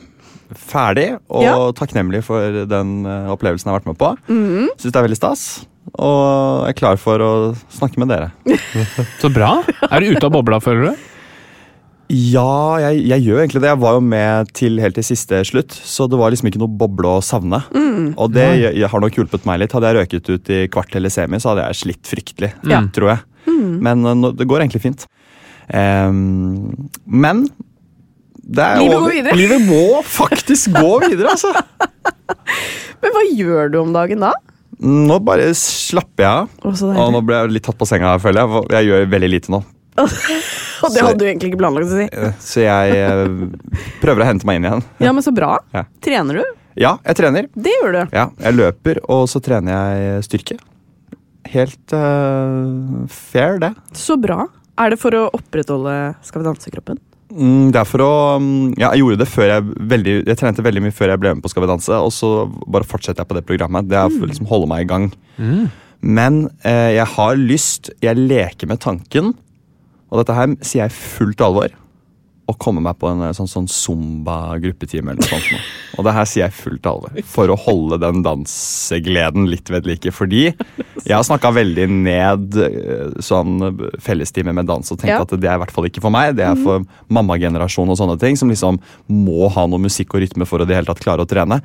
ferdig og
Ja.
takknemlig for den eh, opplevelsen jeg har vært med på. Mm Syns det er veldig stas. Og jeg er klar for å snakke med dere.
Så bra. Er du ute av bobla, føler du?
Ja, jeg, jeg gjør egentlig det. Jeg var jo med til helt til siste slutt, så det var liksom ikke noe boble å savne.
Mm.
Og det jeg, jeg har nok hjulpet meg litt. Hadde jeg røket ut i kvart eller semi, så hadde jeg slitt fryktelig,
Ja. Mm.
tror jeg. Men eh, nå, det går egentlig fint. Ehm, men det er
Livet går
over.
videre.
Livet må faktisk gå videre, altså!
Men hva gjør du om dagen da?
Nå bare slapper jeg av.
Å, så deilig.
Og nå ble jeg litt tatt på senga, føler jeg. Jeg gjør veldig lite nå.
Og det hadde du egentlig ikke planlagt å si.
Eh, Så jeg eh, prøver å hente meg inn igjen.
Ja, men så bra.
Ja.
Trener du?
Ja, jeg trener.
Det gjør du.
Ja, jeg løper, og så trener jeg styrke. Helt eh, fair, det.
Så bra. Er det for å opprettholde Skal vi danse-kroppen?
Mm, det er for å mm, Ja, jeg gjorde det før jeg veldig Jeg trente veldig mye før jeg ble med på Skal vi danse, og så bare fortsetter jeg på det programmet. Det er for å liksom holde meg i gang. Mm. Men eh, jeg har lyst, jeg leker med tanken, og dette her sier jeg i fullt alvor, å komme meg på en eh, sånn, sånn zumba-gruppetime eller noe sånt. nå. Og det her sier jeg i fullt alvor, for å holde den dansegleden litt ved like. Fordi jeg har snakka veldig ned eh, sånn eh, fellestime med dans og tenkt
Ja.
at det er i hvert fall ikke for meg. Det er for mammagenerasjon og sånne ting, som liksom må ha noe musikk og rytme for å i det hele tatt klare å trene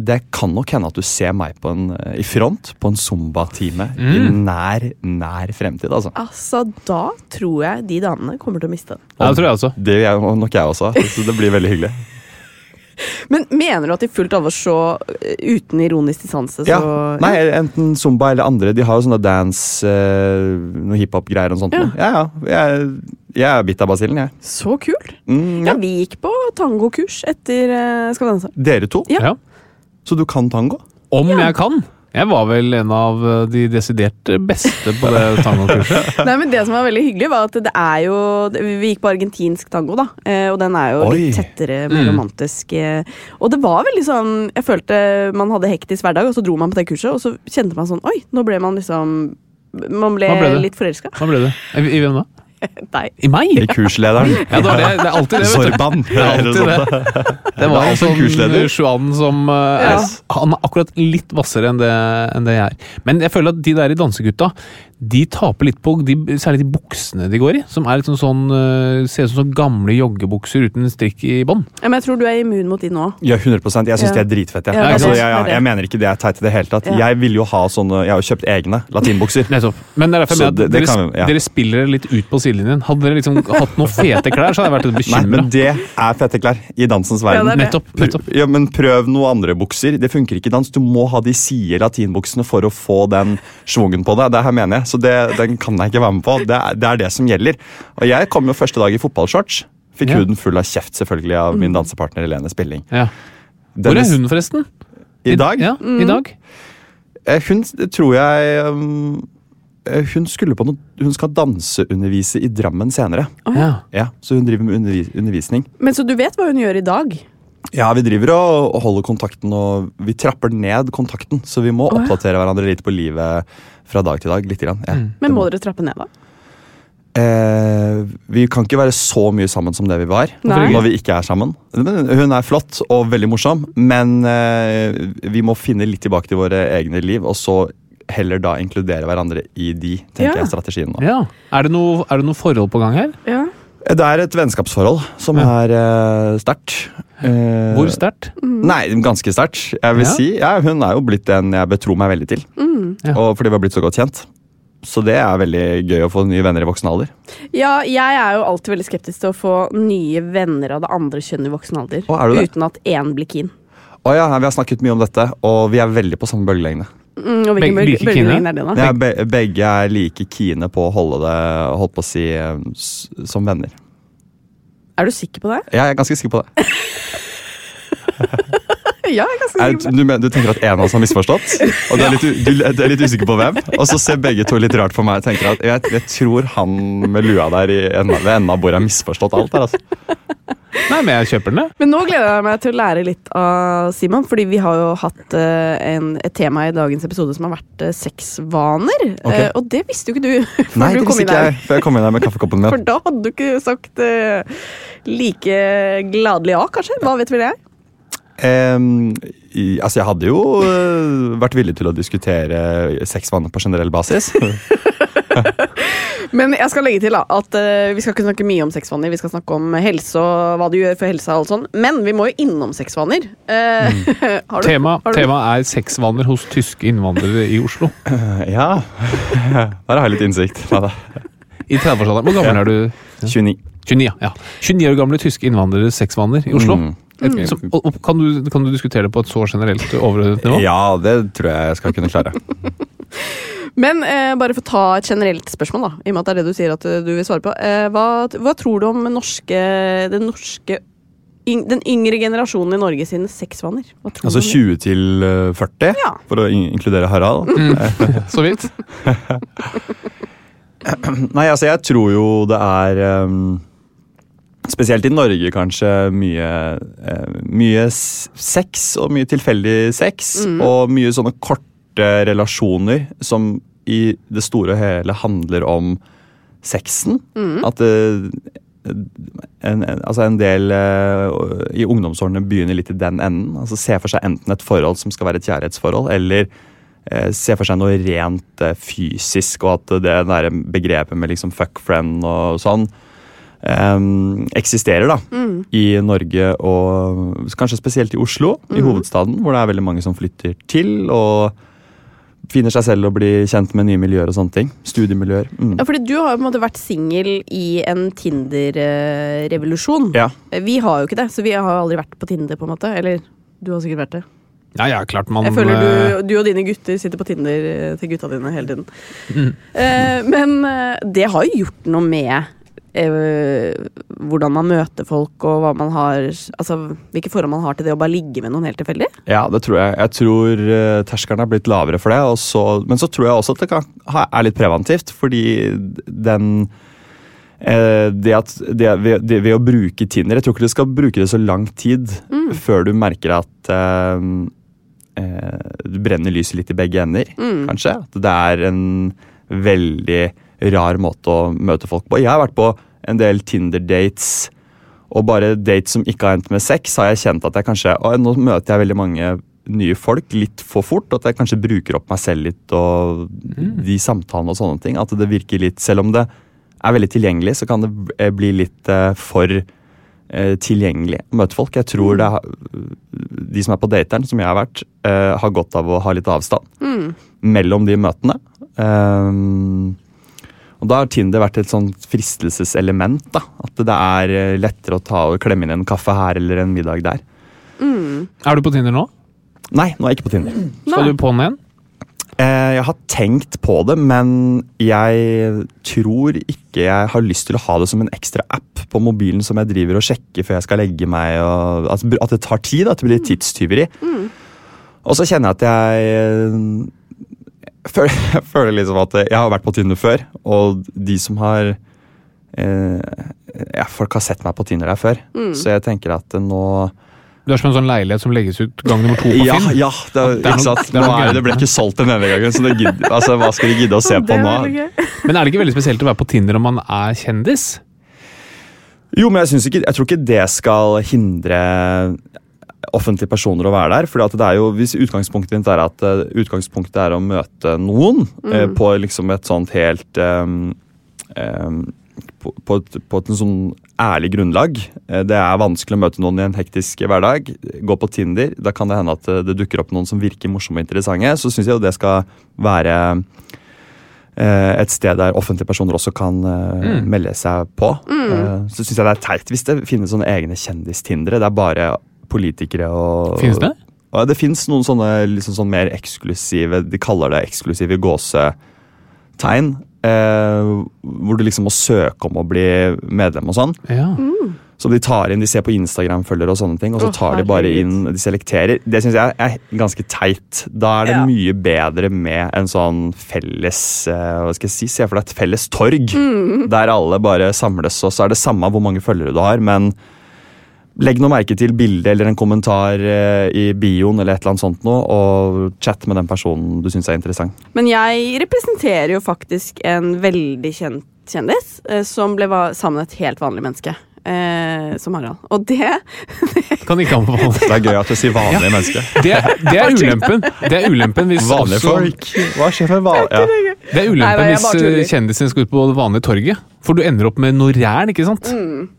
det kan nok hende at du ser meg på en, eh, i front på en zumba-time i
Mm.
nær, nær fremtid. altså.
Altså, da tror jeg de damene kommer til å miste den.
Ja, det tror jeg også.
Det gjør jeg- nok jeg også, så det blir veldig hyggelig.
Men mener du at i fullt alvor så eh, uten ironisk distanse, så
Ja, nei, Enten zumba eller andre. De har jo sånne dance, eh, noe hiphop-greier og sånt.
Ja.
nå. ja, ja. Jeg, jeg er bitt av basillen, jeg.
Så kult!
Mm,
Ja,
ja.
vi gikk på tangokurs etter eh, Skal vi danse.
Dere to,
Ja.
Ja.
så du kan tango?
Om jeg kan. Jeg var vel en av eh, de desidert beste på det tangokurset.
Nei, men Det som var veldig hyggelig, var at det er jo Vi gikk på argentinsk tango, da. eh, Og den er jo litt
Oi.
tettere, mer
Mm.
romantisk. eh, Og det var veldig sånn Jeg følte man hadde hektisk hverdag, og så dro man på det kurset, og så kjente man sånn Oi, nå ble man liksom Man ble,
Hva ble det?
litt forelska.
Hva ble det? I, i hvem da?
Nei.
I meg?
I kurslederen.
Ja, det, var det. det er alltid det, vet du.
Sorban.
Det er alltid det. Det var
Det er
en
alltid
sånn
kursleder.
Shuan som eh, er, Han er akkurat litt hvassere enn det, enn det jeg er. Men jeg føler at de der i Dansegutta, de taper litt på de, særlig de buksene de går i. Som er litt sånn sånn eh, Ser ut som sånn gamle joggebukser uten strikk i bånd.
Ja, men jeg tror du er immun mot de nå.
Ja, 100 Jeg syns det
Ja.
er dritfett. Jeg.
Ja,
det er
altså, jeg,
som er
det
jeg,
det.
jeg mener ikke det er teit i det hele tatt.
Ja.
Jeg vil jo ha sånne Jeg har jo kjøpt egne latinbukser.
Nettopp. Men det er derfor jeg
Så
mener at
det- det
dere,
kan vi- ja.
dere spiller litt ut på sidelinjen. Hadde dere liksom hatt noen fete klær, så hadde jeg vært litt
Nei,
bekymra.
men det er fette klær i dansens verden.
Ja, det er det.
Nettopp. nettopp.
Ja, men prøv noen andre bukser. Det funker ikke i dans. Du må ha de side latinbuksene for å få den schwungen på deg. Det her mener jeg, så det, den kan jeg ikke være med på. Det er, det er det som gjelder. Og jeg kom jo første dag i fotballshorts. Fikk
Ja.
huden full av kjeft selvfølgelig av min dansepartner Helene Spilling.
Ja. Hvor er hun, forresten?
I dag?
Ja,
Mm.
i dag.
Eh, Hun s- tror jeg um, eh, Hun skulle på noe Hun skal danseundervise i Drammen senere.
Ja.
Ja, Så hun driver med undervi- undervisning.
Men så du vet hva hun gjør i dag?
Ja, vi driver og og holder kontakten, og vi trapper ned kontakten. Så vi må
ja.
oppdatere hverandre litt på livet fra dag til dag. Litt grann. Ja,
Mm.
det
Men må dere trappe ned, da?
Eh, vi kan ikke være så mye sammen som det vi var.
Nei.
Når vi ikke er sammen. Men hun er flott og veldig morsom, men eh, vi må finne litt tilbake til våre egne liv, og så heller da inkludere hverandre i de, tenker
Ja.
jeg er strategien nå.
ja. Er, det noe, er det noe forhold på gang her?
Ja.
Det er et vennskapsforhold som er eh, sterkt. Eh,
Hvor sterkt?
Nei, ganske sterkt. Jeg vil
Ja.
si, ja, Hun er jo blitt en jeg betror meg veldig til.
Ja.
Og fordi vi har blitt så godt kjent. Så det er veldig gøy å få nye venner i voksen alder.
Ja, jeg er jo alltid veldig skeptisk til å få nye venner av det andre kjønn i voksen alder.
Å, er du det?
Uten at én blir keen.
Å ja, Vi har snakket mye om dette, og vi er veldig på samme bølgelengde.
Mm, og hvilken
Beg-
bølge-
like keen,
bølgelengde er det, da?
Ja, be begge er like kine på å holde det holdt på å si, eh, s- som venner.
Er du sikker på det?
Jeg er ganske sikker på det.
Ja, jeg er ganske
Er,
sikker på det.
du, men- du tenker at en av oss har misforstått? Og du er litt, u- du, du er litt usikker på hvem? Og så ser begge to litt rart på meg og tenker at jeg, jeg tror han med lua der i enden, ved enden av bordet har misforstått alt her, altså.
Nei, men jeg kjøper den, jeg.
Men nå gleder jeg meg til å lære litt av Simon, fordi vi har jo hatt eh, en, et tema i dagens episode som har vært eh, sexvaner.
Ok.
Eh, og det visste jo ikke du før
Nei,
du
det
kom
visste
inn
ikke
her.
jeg før jeg kom inn her med kaffekoppen
For
min.
da hadde du ikke sagt eh, like gladelig ja, kanskje? Hva vet vel jeg?
Em, i, altså, jeg hadde jo eh, vært villig til å diskutere sexvaner på generell basis.
Men jeg skal legge til da, at eh, vi skal ikke snakke mye om sexvaner. Vi skal snakke om helse og hva du gjør for helsa. og alt sånt. Men vi må jo innom sexvaner. Eh, har du-
Mm. Tema,
har du-
tema er sexvaner hos tyske innvandrere i Oslo.
Ja, der har jeg litt innsikt. Neida.
I 30-årsalderen. Hvor gammel er du?
29.
29, ja. ja. 29 år gamle tyske innvandreres sexvaner i Oslo.
Mm.
Et, som, og, og, kan, du, kan du diskutere det på et så generelt overordnet nivå?
Ja, det tror jeg jeg skal kunne klare.
Men eh, bare for å ta et generelt spørsmål, da, i og med at det er det du sier at eh, du vil svare på. Eh, hva, hva tror du om norske, den norske yng, Den yngre generasjonen i Norge sine sexvaner? Hva tror
Altså
du om det?
20 til eh, 40,
Ja.
for å in inkludere Harald.
Mm. Så vidt.
Nei, altså jeg tror jo det er ehm, Spesielt i Norge, kanskje. Mye, eh, mye s- sex, og mye tilfeldig sex. Og mye sånne korte relasjoner som i det store og hele handler om sexen. At eh, en, en, altså en del eh, i ungdomsårene begynner litt i den enden. Altså Se for seg enten et forhold som skal være et kjærlighetsforhold, eller eh, se for seg noe rent eh, fysisk, og at det der begrepet med liksom fuck friend og sånn em, eksisterer da, i Norge og kanskje spesielt i Oslo, i hovedstaden, hvor det er veldig mange som flytter til og finner seg selv og blir kjent med nye miljøer og sånne ting. Studiemiljøer. Mm.
Ja, fordi du har jo på en måte vært singel i en Tinder-revolusjon. Eh,
Ja.
Vi har jo ikke det, så vi har jo aldri vært på Tinder, på en måte. Eller du har sikkert vært det.
Ja, ja, klart man
Jeg føler
eh,
du, du og dine gutter sitter på Tinder eh, til gutta dine hele tiden. Eh, men eh, det har jo gjort noe med eh, hvordan man møter folk, og hva man har Altså hvilke forhold man har til det å bare ligge med noen helt tilfeldig.
Ja, det tror jeg. Jeg tror eh, terskelen er blitt lavere for det. Og så, men så tror jeg også at det kan, ha- er litt preventivt, fordi den eh, det at det, ved, det, ved å bruke Tinder Jeg tror ikke du skal bruke det så lang tid før du merker at eh, eh, du brenner lyset litt i begge ender, kanskje. At det er en veldig rar måte å møte folk på. Jeg har vært på en del Tinder-dates. Og bare dates som ikke har endt med sex, har jeg kjent at jeg kanskje «Å, Nå møter jeg veldig mange nye folk litt for fort, og at jeg kanskje bruker opp meg selv litt og de samtalene og sånne ting. At det virker litt Selv om det er veldig tilgjengelig, så kan det eh, bli litt eh, for eh, tilgjengelig å møte folk. Jeg tror det er, de som er på dateren, som jeg har vært, eh, har godt av å ha litt avstand mellom de møtene. Um, og Da har Tinder vært et sånt fristelseselement. da, At det er eh, lettere å ta og klemme inn en kaffe her eller en middag der.
Er du på Tinder nå?
Nei, nå er jeg ikke på Tinder.
Skal du på den igjen?
Eh, Jeg har tenkt på det, men jeg tror ikke jeg har lyst til å ha det som en ekstra app på mobilen som jeg driver og sjekker før jeg skal legge meg. Og at, at det tar tid, at det blir tidstyveri. Og så kjenner jeg at jeg eh, føler, jeg føler liksom at jeg har vært på Tinder før, og de som har eh, ja, Folk har sett meg på Tinder der før, så jeg tenker at eh, nå
Du er som en sånn leilighet som legges ut gang nummer to på
ja,
Finn.
ja, det, er-
Det er
ikke
noe-
sant?
det er
Nå er
noe
det,
gærent.
det ble ikke solgt den ene gangen, så det gidder, altså, hva skal de gidde å se på nå?
Men er det ikke veldig spesielt å være på Tinder om man er kjendis?
Jo, men jeg, synes ikke, jeg tror ikke det skal hindre offentlige personer å være der. Fordi at det er jo, hvis utgangspunktet ditt er at eh, utgangspunktet er å møte noen eh, på liksom et sånt helt ehm, ehm, på, på, et, på et sånn ærlig grunnlag. Eh, Det er vanskelig å møte noen i en hektisk hverdag. Gå på Tinder. Da kan det hende at eh, det dukker opp noen som virker morsomme og interessante. Så syns jeg jo det skal være eh, et sted der offentlige personer også kan eh,
Mm.
melde seg på. Eh, Så syns jeg det er teit hvis det finnes sånne egne kjendistindere. Det er bare politikere og
Finnes det?
ja, det fins noen sånne liksom sånn mer eksklusive De kaller det eksklusive gåsetegn. eh, hvor du liksom må søke om å bli medlem og sånn.
Ja.
Mm.
Så de tar inn, de ser på Instagram-følgere og sånne ting, og så
Å,
tar de bare
herregud.
inn, de selekterer. Det syns jeg er ganske teit. Da er det
Ja.
mye bedre med en sånn felles eh, hva skal jeg si, Se for deg et felles torg, der alle bare samles, og så er det samme hvor mange følgere du har, men Legg noe merke til bildet eller en kommentar eh, i bioen, eller et eller annet sånt noe, og chat med den personen du syns er interessant.
Men jeg representerer jo faktisk en veldig kjent kjendis eh, som ble va- sammen med et helt vanlig menneske. Eh, som Harald. Og det
Kan ikke anbefales.
Det er gøy at du sier vanlige mennesker.
Det er, det er ulempen. Det er ulempen hvis
Vanlige
også-
folk. Hva skjer med van- ja.
Det er
Nei,
ulempen
nei, jeg
hvis
bare tuller.
eh, kjendisen skal ut på det vanlige torget. For du ender opp med noe ræl, ikke sant?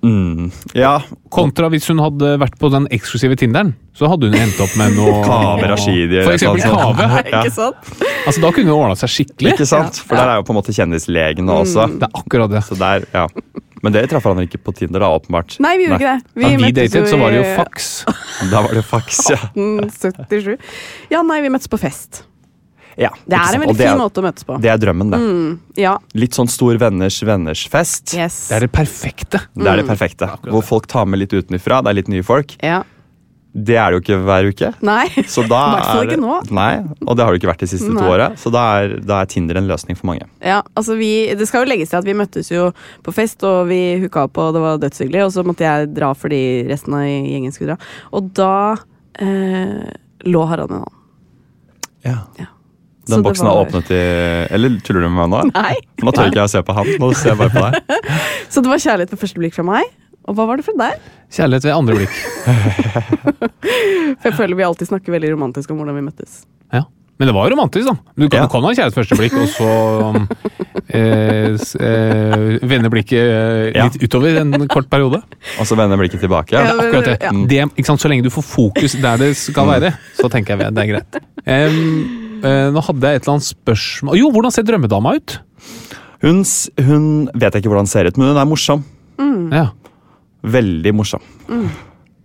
Mm. ja.
Kontra hvis hun hadde vært på den eksklusive Tinderen. Så hadde hun endt opp med noe
Kave Rashidi eller
For eksempel
noe sånt.
Kave.
Ja.
Ikke sant?
Altså, da kunne hun ordna seg skikkelig.
Ikke sant? For der er jo på en måte kjendislegene også.
Mm.
Det er akkurat det.
Så der, ja. Men dere traff hverandre ikke på Tinder, da, åpenbart.
Nei, vi gjorde ikke det.
Da vi
møttes
datet,
jo
så var det jo
i
fax.
Da var det faks, ja.
mm. 1877. Ja, nei, vi møttes på fest.
ja
Det
ikke
er
sant?
en
Og
veldig
det er-
fin måte å Mm. møtes på.
Det er drømmen, det.
Ja,
Litt sånn stor venners venners fest.
yes.
Det er det perfekte.
Det er det
Mm.
perfekte. Hvor folk tar med litt utenfra. Det er litt nye folk.
Ja.
Det er det jo ikke hver uke.
Nei.
Så da
I hvert fall
er-
ikke nå.
Nei, og det har det ikke vært de siste to
Nei.
åra. Så da er, da er Tinder en løsning for mange.
Ja, altså vi, Det skal jo legges til at vi møttes jo på fest, og vi hooka opp, og det var dødshyggelig. Og så måtte jeg dra fordi resten av gjengen skulle dra. Og da eh, lå Harald med en annen.
Ja.
Ja.
Den
Så det
boksen
var-
er åpnet i Eller tuller du med meg nå?
Nei.
Nå tør ikke jeg å se på han. Nå ser jeg bare på deg.
Så det var kjærlighet ved første blikk fra meg. Og hva var det fra deg?
Kjærlighet ved andre blikk.
For jeg føler vi alltid snakker veldig romantisk om hvordan vi møttes.
Ja. Men det var jo romantisk, da. Du kan,
Ja.
du kan ha kjærlighet første blikk, og så um, eh, s- eh, vende blikket eh,
Ja.
litt utover en kort periode.
Og så vender jeg blikket tilbake.
Ja, men-
Akkurat det.
Ja.
det ikke sant? Så lenge du får fokus der det skal være, så tenker jeg det er greit. Em, eh, nå hadde jeg et eller annet spørsmål Jo, hvordan ser drømmedama ut?
Hun, s- hun vet jeg ikke hvordan ser ut, men hun er morsom.
Ja.
Veldig morsom.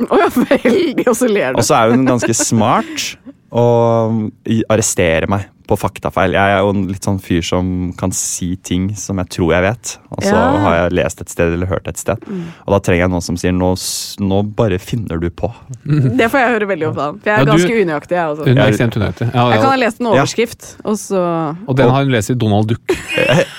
Å ja, veldig, og så ler
Og
du.
så er hun ganske smart og i- arresterer meg på faktafeil. Jeg er jo en litt sånn fyr som kan si ting som jeg tror jeg vet, og så
Ja. Mm.
har jeg lest et sted eller hørt et sted. Og da trenger jeg noen som sier nå, s- nå bare finner du på. Altså-
Det får jeg høre veldig ofte. For jeg
Ja,
er
du-
ganske unøyaktig, jeg også.
Hun er
Jeg-
ekstremt unøyaktig. Ja,
Jeg kan ha
ja.
lest en overskrift, og så
Og den har hun lest i Donald Duck.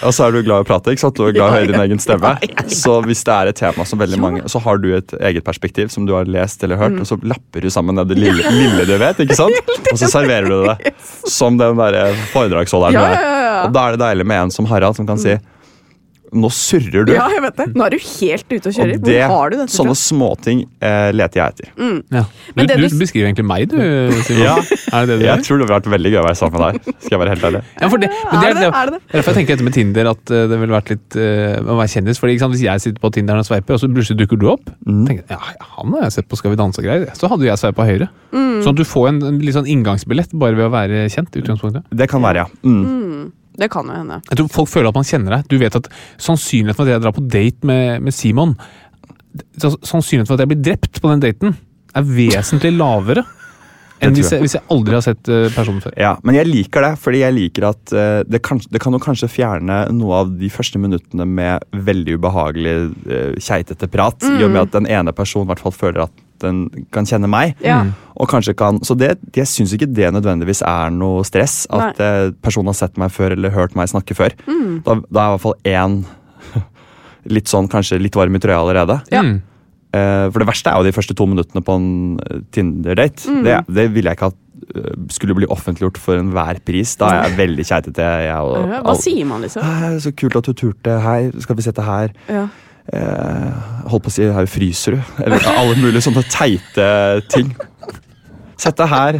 Og så er du glad i å prate, ikke sant? Du er glad i å høre din egen stemme. Så hvis det er et tema som veldig mange Så har du et eget perspektiv som du har lest eller
Mm.
hørt, og så lapper du sammen det lille, lille du vet, ikke sant? Og så serverer du det som den derre foredragsholderen du
Ja,
er.
ja, ja, ja.
Og da er det deilig med en som Harald, som kan si Nå surrer du.
Ja, jeg vet det. Nå er du helt ute å
Og
kjøre.
det,
Hvor har du dette
sånne småting eh, leter jeg etter.
Mm.
Ja. Du,
Men det
du
du-
beskriver egentlig meg, du, Simon.
Ja.
Er det det du
Jeg
gjør?
tror det ville vært veldig gøy å være sammen med deg. Skal jeg være helt ærlig.
Ja, for det, men det,
Er
er,
det
det,
det? Er det det?
er derfor jeg tenker dette med Tinder at eh, det ville vært litt eh, å være kjendis. Fordi ikke sant, Hvis jeg sitter på Tinder og sveiper, og så plutselig dukker du opp
Mm.
tenker jeg, ja, Han har jeg sett på Skal vi danse og greier. Så hadde jo jeg sveipa høyre.
Mm.
Sånn at du får en, en litt sånn inngangsbillett bare ved å være kjent. i utgangspunktet.
Det kan være, ja. Mm.
fra? Det kan jo hende.
Jeg tror Folk føler at man kjenner deg. Du vet at Sannsynligheten for at jeg drar på date med, med Simon så- Sannsynligheten for at jeg blir drept på den daten, er vesentlig lavere enn
tror
hvis jeg, hvis jeg aldri har sett eh, personen før.
Ja, men jeg liker det, fordi jeg liker at eh, det, kan, det kan jo kanskje fjerne noe av de første minuttene med veldig ubehagelig eh, keitete prat, i og med at den ene personen i hvert fall føler at den kan kjenne meg.
Ja. Mm.
Og kanskje kan, så det, jeg syns ikke det nødvendigvis er noe stress, at eh, personen har sett meg før eller hørt meg snakke før. Da, da er i hvert fall én litt sånn kanskje litt varm i trøya allerede.
Mm.
Eh, for det verste er jo de første to minuttene på en eh, Tinder-date.
Mm.
Det, det ville jeg ikke at eh, skulle bli offentliggjort for enhver pris. Da er jeg veldig keitete. jeg og-
Hva
all-
sier man, liksom?
Hei, Så kult at du turte. Hei, skal vi sette her?
Ja.
Eh, holdt på å si her fryser du. Eller alle mulige sånne teite ting. Sett deg her.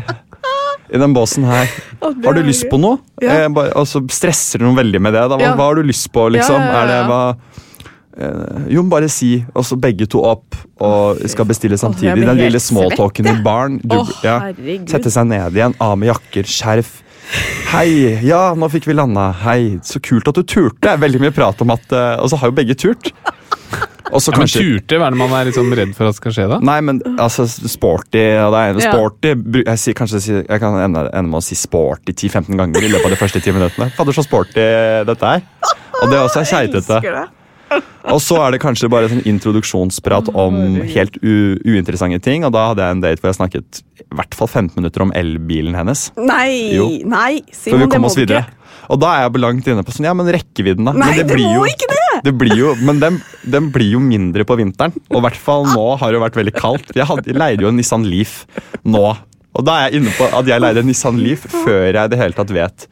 I den båsen her. Har du lyst på noe?
Ja.
Eh, bare, og så stresser noen veldig med det. Da. Hva,
Ja.
hva har du lyst på, liksom?
Ja, ja, ja,
Er det
ja.
hva eh, Jo, men bare si. Og så begge to opp og skal bestille
faen. Åh, jeg
samtidig.
blir
Den
helt
lille smalltalken i baren. Du,
Åh,
ja.
herregud.
Sette seg ned igjen. Av med jakker, skjerf. Hei, ja, nå fikk vi landa. Hei, så kult at du turte. Veldig mye prat om at eh, Og så har jo begge turt. Og så
Ja, men
kanskje-
turte? Hva er det man er litt sånn redd for at skal skje da?
Nei, men altså, sporty og det er
Ja.
sporty, bru- jeg, sier, kanskje, jeg sier- jeg kan ende, ende med å si sporty 10-15 ganger i løpet av de første 10 minuttene. Fader, så sporty dette er. Og det også er keitete.
Elsker det.
Og så er det kanskje bare sånn introduksjonsprat om helt u uinteressante ting. Og da hadde jeg en date hvor jeg snakket i hvert fall 15 minutter om elbilen hennes.
Nei,
Jo.
nei,
Før vi
Simon, det
kom
må
oss
du
videre.
ikke.
Og da er jeg langt inne på sånn, ja, men rekkevidden, da.
Nei,
men
det må ikke det!
blir jo, men den, den blir jo mindre på vinteren. Og i hvert fall nå har det jo vært veldig kaldt. Jeg, hadde, jeg leide jo en Nissan Leaf nå. Og da er jeg inne på at jeg leide en Nissan Leaf før jeg i det hele tatt vet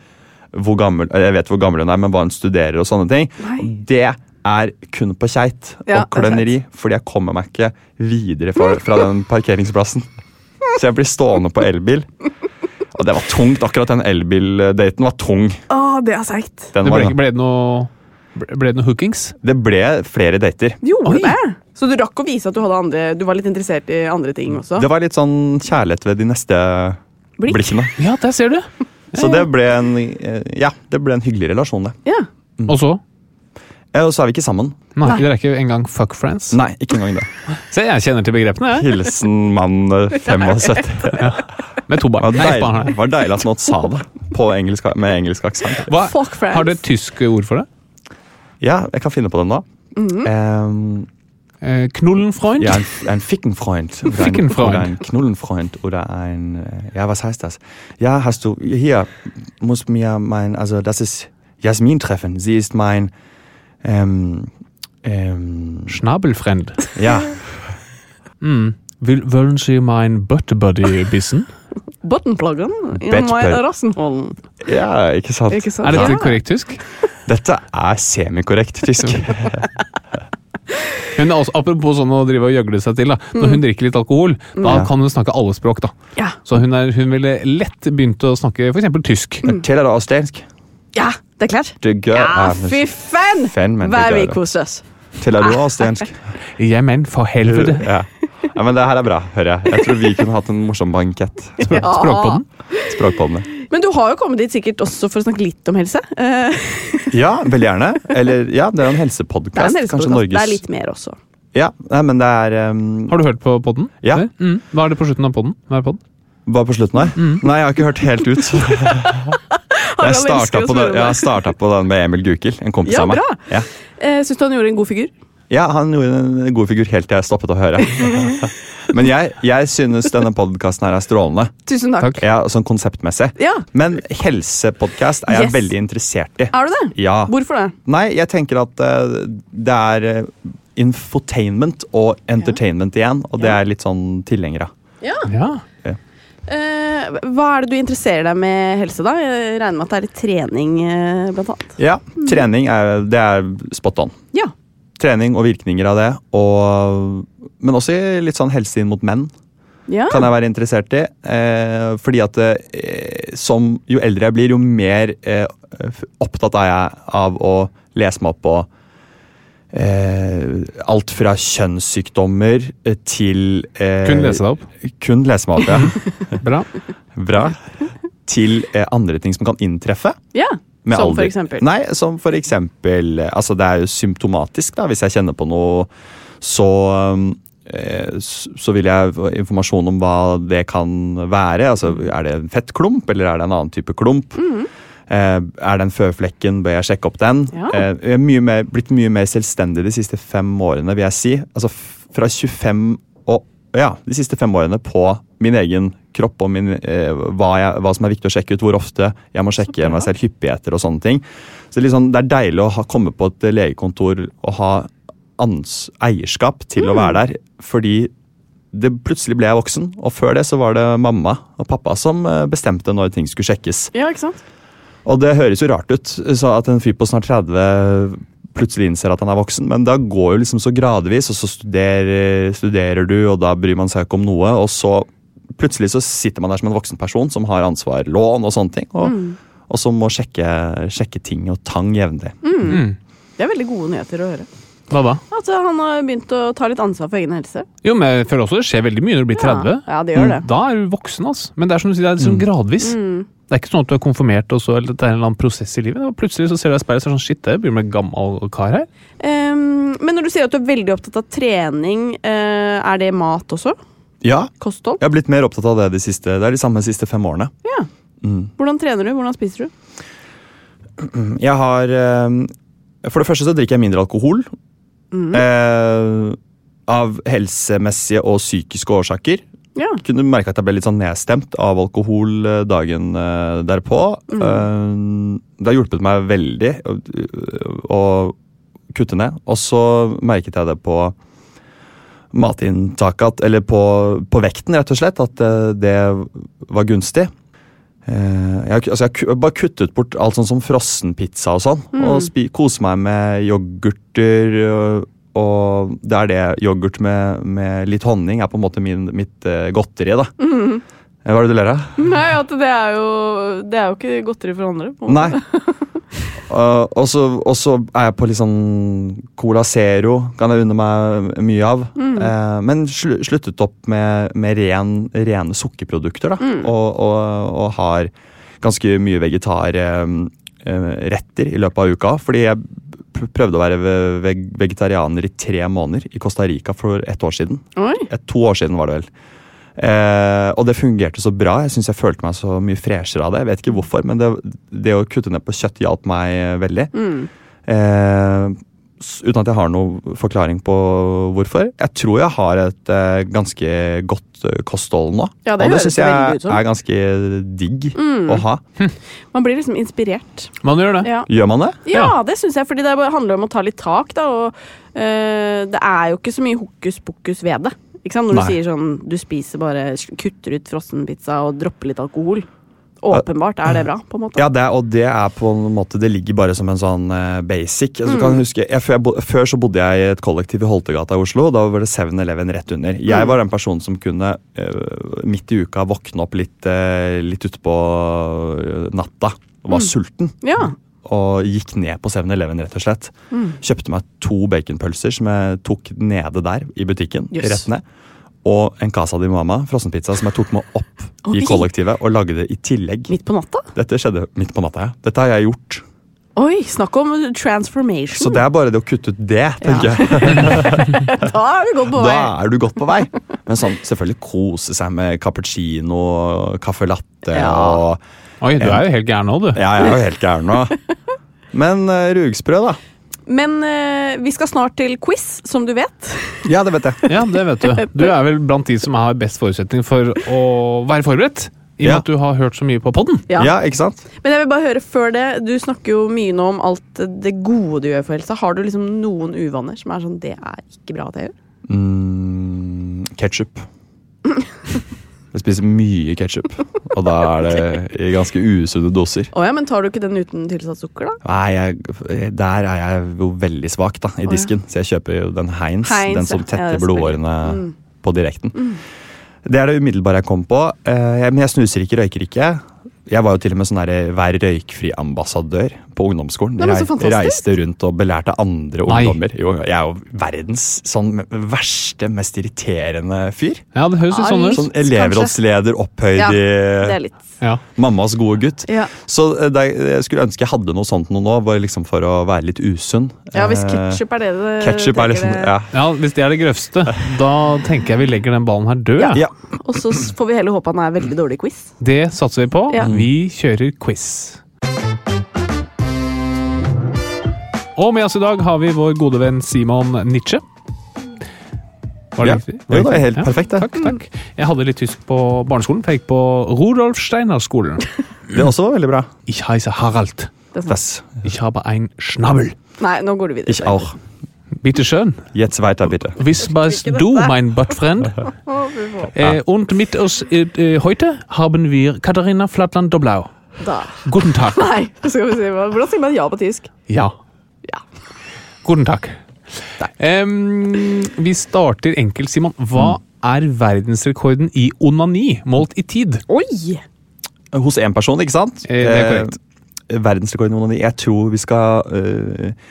hvor gammel, eller jeg vet hvor gammel hun er, men hva hun studerer og sånne ting. Og Det er kun på keit
Ja,
og
det er
kløneri, fordi jeg kommer meg ikke videre fra, fra den parkeringsplassen. Så jeg blir stående på elbil. Og det var tungt. Akkurat den elbildaten var tung.
Å, det er seigt.
Den
Det
var,
ble, ble det noe ble- Ble det noe hookings?
det ble flere dater.
Gjorde det? Så du rakk å vise at du, hadde andre, du var litt interessert i andre ting også?
Det var litt sånn kjærlighet ved de neste
Blikk.
blikkene.
Ja, der ser du!
Så det ble en, eh, ja, det ble en hyggelig relasjon, det.
Ja.
Mm.
Og så?
Eh, Og så er vi ikke sammen.
Nei, Dere er ikke engang fuck friends?
Nei, ikke engang det.
Se, jeg kjenner til begrepene, jeg.
Hilsen mann eh, 75.
Med to barn.
Det var
Nei, ett barn har
deilig,
jeg.
var deilig at noen sa det på engelsk, med engelsk aksent.
Hva,
Fuck friends.
har du et tysk ord for det?
Ja, jeg kan finne på den da.
Mhm.
Eh,
Eh, Knullenfreund?
Ja, ein, ein Fickenfreund. Oder ein-
Fickenfreund.
Oder ein Knullenfreund oder ein, äh, ja, was heißt das? Ja, hast du, hier, muss mir mein, also das ist Jasmin treffen. Sie ist mein, ähm, ähm,
Schnabelfriend.
ja,
Will, wollen Sie mein Buttebuddy bissen?
Buttonpluggen i
Bad plug.
Rassenholm.
ja, ikke sant.
Ikke sant?
Er dette
Ja.
korrekt tysk?
Dette er semikorrekt tysk.
Hun er også, apropos sånn å drive og gjøgle seg til. da. Når
Mm.
hun drikker litt alkohol, da kan hun snakke alle språk. da.
Ja.
Så hun, er, hun ville lett begynt å snakke f.eks. tysk.
Teller du også dansk?
ja, det er klart.
Det gør,
Ja,
er-
fy Ah, fan!
Fan, men det
Hva
gjør
vi
det.
koser oss.
Teller du
Ah.
også dansk?
Ja, men for helvete!
Ja. ja, men det her er bra, hører jeg. Jeg tror vi kunne hatt en morsom bankett.
Språk, Språkpodden.
Språkpodene.
Men du har jo kommet dit sikkert også for å snakke litt om helse. Eh,
Ja, veldig gjerne. Eller, ja, det er jo en
Det er,
helsepodcast.
en
Kanskje
helsepodcast. det er
Norges
litt mer også.
Ja, nei, men det er um,
Har du hørt på podden?
Ja.
Det? Mm. Hva er det på slutten av podden? Hva er podden?
Hva på slutten her? Nei, jeg har ikke hørt helt ut. jeg starta
elsker
på,
å spørre om
den,
det.
jeg starta på den med Emil Gukild, en kompis
Ja,
av meg.
bra.
Ja.
Eh, Syns du han gjorde en god figur?
ja, han gjorde en god figur helt til jeg stoppet å høre. Men jeg, jeg synes denne podkasten her er strålende,
Tusen takk.
ja, sånn konseptmessig.
Ja.
Men helsepodkast er jeg
Yes.
veldig interessert i.
Er du det?
Ja.
Hvorfor det?
Nei, jeg tenker at eh, det er eh, infotainment og entertainment igjen, og det er litt sånn tilhenger av.
Ja.
Eh, hva er det du interesserer deg med helse, da? Jeg regner med at det er litt trening, eh, blant annet.
Ja, trening er, det er spot on.
Ja.
trening og virkninger av det. Og, men også i litt sånn helse inn mot menn
Ah.
ja.
kan jeg være interessert i. Eh, fordi at eh, som, jo eldre jeg blir, jo mer eh, f- opptatt er jeg av å lese meg opp på eh, alt fra kjønnssykdommer eh, til eh,
Kun lese deg opp.
Kun lese meg opp, ja.
Bra.
Bra. Til eh, andre ting som kan inntreffe.
ja.
Med
Som
alder.
for eksempel.
Nei, som for eksempel eh, Altså, det er jo symptomatisk, da. Hvis jeg kjenner på noe, så um, eh, s- så vil jeg få informasjon om hva det kan være. Altså, Er det en fettklump, eller er det en annen type klump?
Mm.
Eh, er det en føflekken, bør jeg sjekke opp den?
Ja.
Eh, jeg er mye mer, blitt mye mer selvstendig de siste fem årene, vil jeg si. Altså f- fra 25 og ja, de siste fem årene på min egen kropp og min, eh, hva, jeg, hva som er viktig å sjekke ut, hvor ofte jeg må sjekke meg selv, hyppigheter og sånne ting. Så det er litt sånn- Det er deilig å ha, komme på et legekontor og ha ans, eierskap til å være der, fordi det, plutselig ble jeg voksen, og før det så var det mamma og pappa som eh, bestemte når ting skulle sjekkes.
Ja, ikke sant?
Og det høres jo rart ut, så at en fyr på snart 30 plutselig innser at han er voksen, men da går jo liksom så gradvis, og så studerer, studerer du, og da bryr man seg ikke om noe, og så plutselig så sitter man der som en voksen person som har ansvar, lån og sånne ting, og, og som må sjekke, sjekke ting og tang jevnlig.
Det er veldig gode nyheter å høre.
Hva da?
At eh, han har begynt å ta litt ansvar for egen helse.
Jo, men jeg føler også det skjer veldig mye når du blir 30.
Ja, ja, det
Mm.
gjør det.
Da er du voksen, altså. Men det er som du sier, det er liksom gradvis. Det er ikke sånn at du er konfirmert, og så eller at det er en eller annen prosess i livet. Og plutselig så ser du deg i speilet og så er det sånn, shit, jeg begynner å bli gammel kar her.
Ehm,
men når du sier at du er veldig opptatt av trening, eh, er det mat også?
Ja,
Kosthold?
jeg har blitt mer opptatt av det de siste, det er de samme siste fem årene.
Ja.
Mm.
Hvordan trener du? Hvordan spiser du?
Jeg har eh, For det første så drikker jeg mindre alkohol. eh, av helsemessige og psykiske årsaker.
Ja.
Kunne merke at jeg ble litt sånn nedstemt av alkohol eh, dagen eh, derpå. Eh, det har hjulpet meg veldig å, å kutte ned. Og så merket jeg det på matinntaket, at, eller på, på vekten, rett og slett, at eh, det var gunstig. Eh, jeg, har ku- altså jeg har ku- bare kuttet bort alt sånn som frossenpizza og sånn. Og spi, kose meg med yoghurter. Og, og det er det yoghurt med, med litt honning er på en måte min, mitt eh, godteri. da. Eh, Hva er det du ler av?
Nei, at det er jo Det er jo ikke godteri for andre. på en måte.
Nei. Uh, og så og så er jeg på litt sånn Cola Zero kan jeg unne meg mye av.
Mm.
Eh, men slu, sluttet opp med, med ren, rene sukkerprodukter, da.
Mm.
Og, og, og har ganske mye vegetarretter i løpet av uka. Fordi jeg pr- prøvde å være ve- veg vegetarianer i tre måneder i Costa Rica for ett år siden.
Oi.
Eh, To år siden var det vel. Eh, og det fungerte så bra. Jeg synes jeg følte meg så mye freshere av det. Jeg vet ikke hvorfor, men det, det å kutte ned på kjøtt hjalp meg eh, veldig.
Mm.
Eh, s- uten at jeg har noen forklaring på hvorfor. Jeg tror jeg har et eh, ganske godt eh, kosthold nå.
Ja, det
og det
høres
syns
veldig ut
jeg
som. Mm.
er ganske digg å ha.
Man blir liksom inspirert.
Man gjør det.
Ja,
Gjør man det?
ja det syns jeg, fordi det bare handler om å ta litt tak, da. Og eh, det er jo ikke så mye hokus pokus ved det. Ikke sant? Når
Nei.
du sier sånn du spiser bare Kutter ut frossenpizza og dropper litt alkohol. Åpenbart er det bra, på en måte.
Ja, det, er- og det er på en måte Det ligger bare som en sånn eh, basic. Altså, du
Mm.
kan huske, jeg, før, jeg bo, før så bodde jeg i et kollektiv i Holtegata i Oslo. Da var det 7-Eleven rett under.
Mm.
Jeg var den personen som kunne eh, midt i uka våkne opp litt, uh, litt utpå natta. Og var sulten.
Mm. Ja. Mm.
Og gikk ned på 7-Eleven, rett og slett. Kjøpte meg to baconpølser som jeg tok nede der i butikken.
Jøss.
rett ned. Og en Casa di Mama, frossenpizza, som jeg tok med opp
Oi.
i kollektivet og lagde i tillegg.
Midt på natta?
Dette skjedde midt på natta. Ja. Dette har jeg gjort.
Oi, snakk om
Så
transformation!
det er bare det å kutte ut det, tenker jeg.
Da er vi godt på
Da
vei!
er du godt på vei. Men sånn, selvfølgelig kose seg med cappuccino, caffè latte
Ja.
og
Oi, du er jo helt gæren nå, du.
Ja, jeg er jo helt gæren nå. Men eh, rugsprø, da.
Men eh, vi skal snart til quiz, som du vet.
Ja, det vet jeg.
Ja, det vet du. Du er vel blant de som har best forutsetning for å være forberedt. I og
Ja.
med at du har hørt så mye på podden.
Ja.
Ja, ikke sant?
Men jeg vil bare høre før det, du snakker jo mye nå om alt det gode du gjør for helsa. Har du liksom noen uvaner som er sånn det er ikke bra at jeg gjør?
Mm, ketchup. Jeg spiser mye ketchup, og da er det i ganske usunne doser.
Å ja, men tar du ikke den uten tilsatt sukker, da?
Nei, jeg, eh, der er jeg jo veldig svak da, i
ja.
disken, så jeg kjøper jo den Heinz,
Heinz,
den som
ja. Mm. Ja,
tetter
det er
blodårene på direkten. Det er det umiddelbare jeg kom på. Eh, jeg, men jeg snuser ikke, røyker ikke. Jeg var jo til og med sånn der, vær røykfri-ambassadør på ungdomsskolen.
Nei, men så
Rei-
fantastisk.
Reiste rundt og belærte andre
Nei.
ungdommer. Jo, jeg er jo verdens sånn verste, mest irriterende fyr.
Ja, det høres litt
Ja,
sånn ut.
Sånn elevrådsleder opphøyd
Ja, Det
i
er litt
Ja.
mammas gode gutt.
Ja,
Så eh, det, jeg skulle ønske jeg hadde noe sånt noe nå, bare liksom for å være litt usunn.
ja hvis
Eh,
ketsjup er det det
ketchup er
tenker
liksom,
det-
ja.
ja, Hvis det er det grøvste, da tenker jeg vi legger den ballen her død. jeg.
ja.
Og så s- får vi heller håpe han er veldig dårlig i quiz.
Det satser vi på.
Ja.
Vi kjører quiz. Og med oss i dag har vi vår gode venn Simon Nietzsche. Var
Ja.
riktig?
Jo, det er helt
Ja.
perfekt, det.
Takk, takk. Jeg hadde litt tysk på barneskolen, for jeg gikk på Rudolf Steiner-skolen.
Det også var veldig bra.
Ich heiße Harald.
Det er sant.
Das.
Ich habe ein Schnabel.
Nei, nå går du videre.
Ich auch.
Bitte schön.
Jetzt weiter, bitte.
Wiss weißt du, mein Buttfriend? äh, und mit uns äh, äh, heute haben wir Katharina Flatland-Doblau.
Da.
Guten Tag.
Nei, skal vi se. hva- Hvordan sier man ja på tysk?
Ja.
Ja.
Guten Tag. Em, vi starter enkelt, Simon. Hva er verdensrekorden i onani målt i tid?
Oi!
Hos én person, ikke sant?
Eh, det er korrekt.
Eh, verdensrekord i onani. Jeg tror vi skal eh,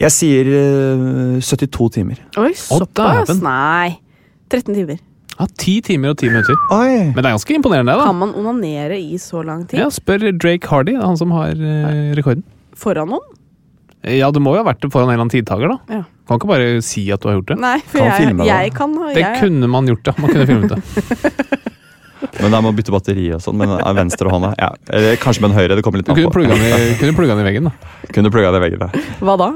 Jeg sier eh, 72 timer.
Oi, såpass?
dæven.
Nei. 13 timer.
Ja, Ti timer og ti minutter.
Oi!
Men det er ganske imponerende, da.
Kan man onanere i så lang tid?
Ja, spør Drake Hardy, han som har eh, rekorden.
Foran noen?
Ja, det må jo ha vært det foran en eller annen tidtaker, da.
Ja.
Kan ikke bare si at du har gjort det.
Nei, for
Kan
jeg,
filme det.
jeg kan ha
Det
jeg,
kunne man gjort, ja. Man kunne filmet det.
Men da må man bytte batteri og sånn. Men av venstrehånda ja. Eller kanskje med den høyre. Det kommer litt
Du
an
kunne
på.
plugga den i, kunne plugga den i veggen, da.
Kunne plugga det i veggen. da.
Hva da?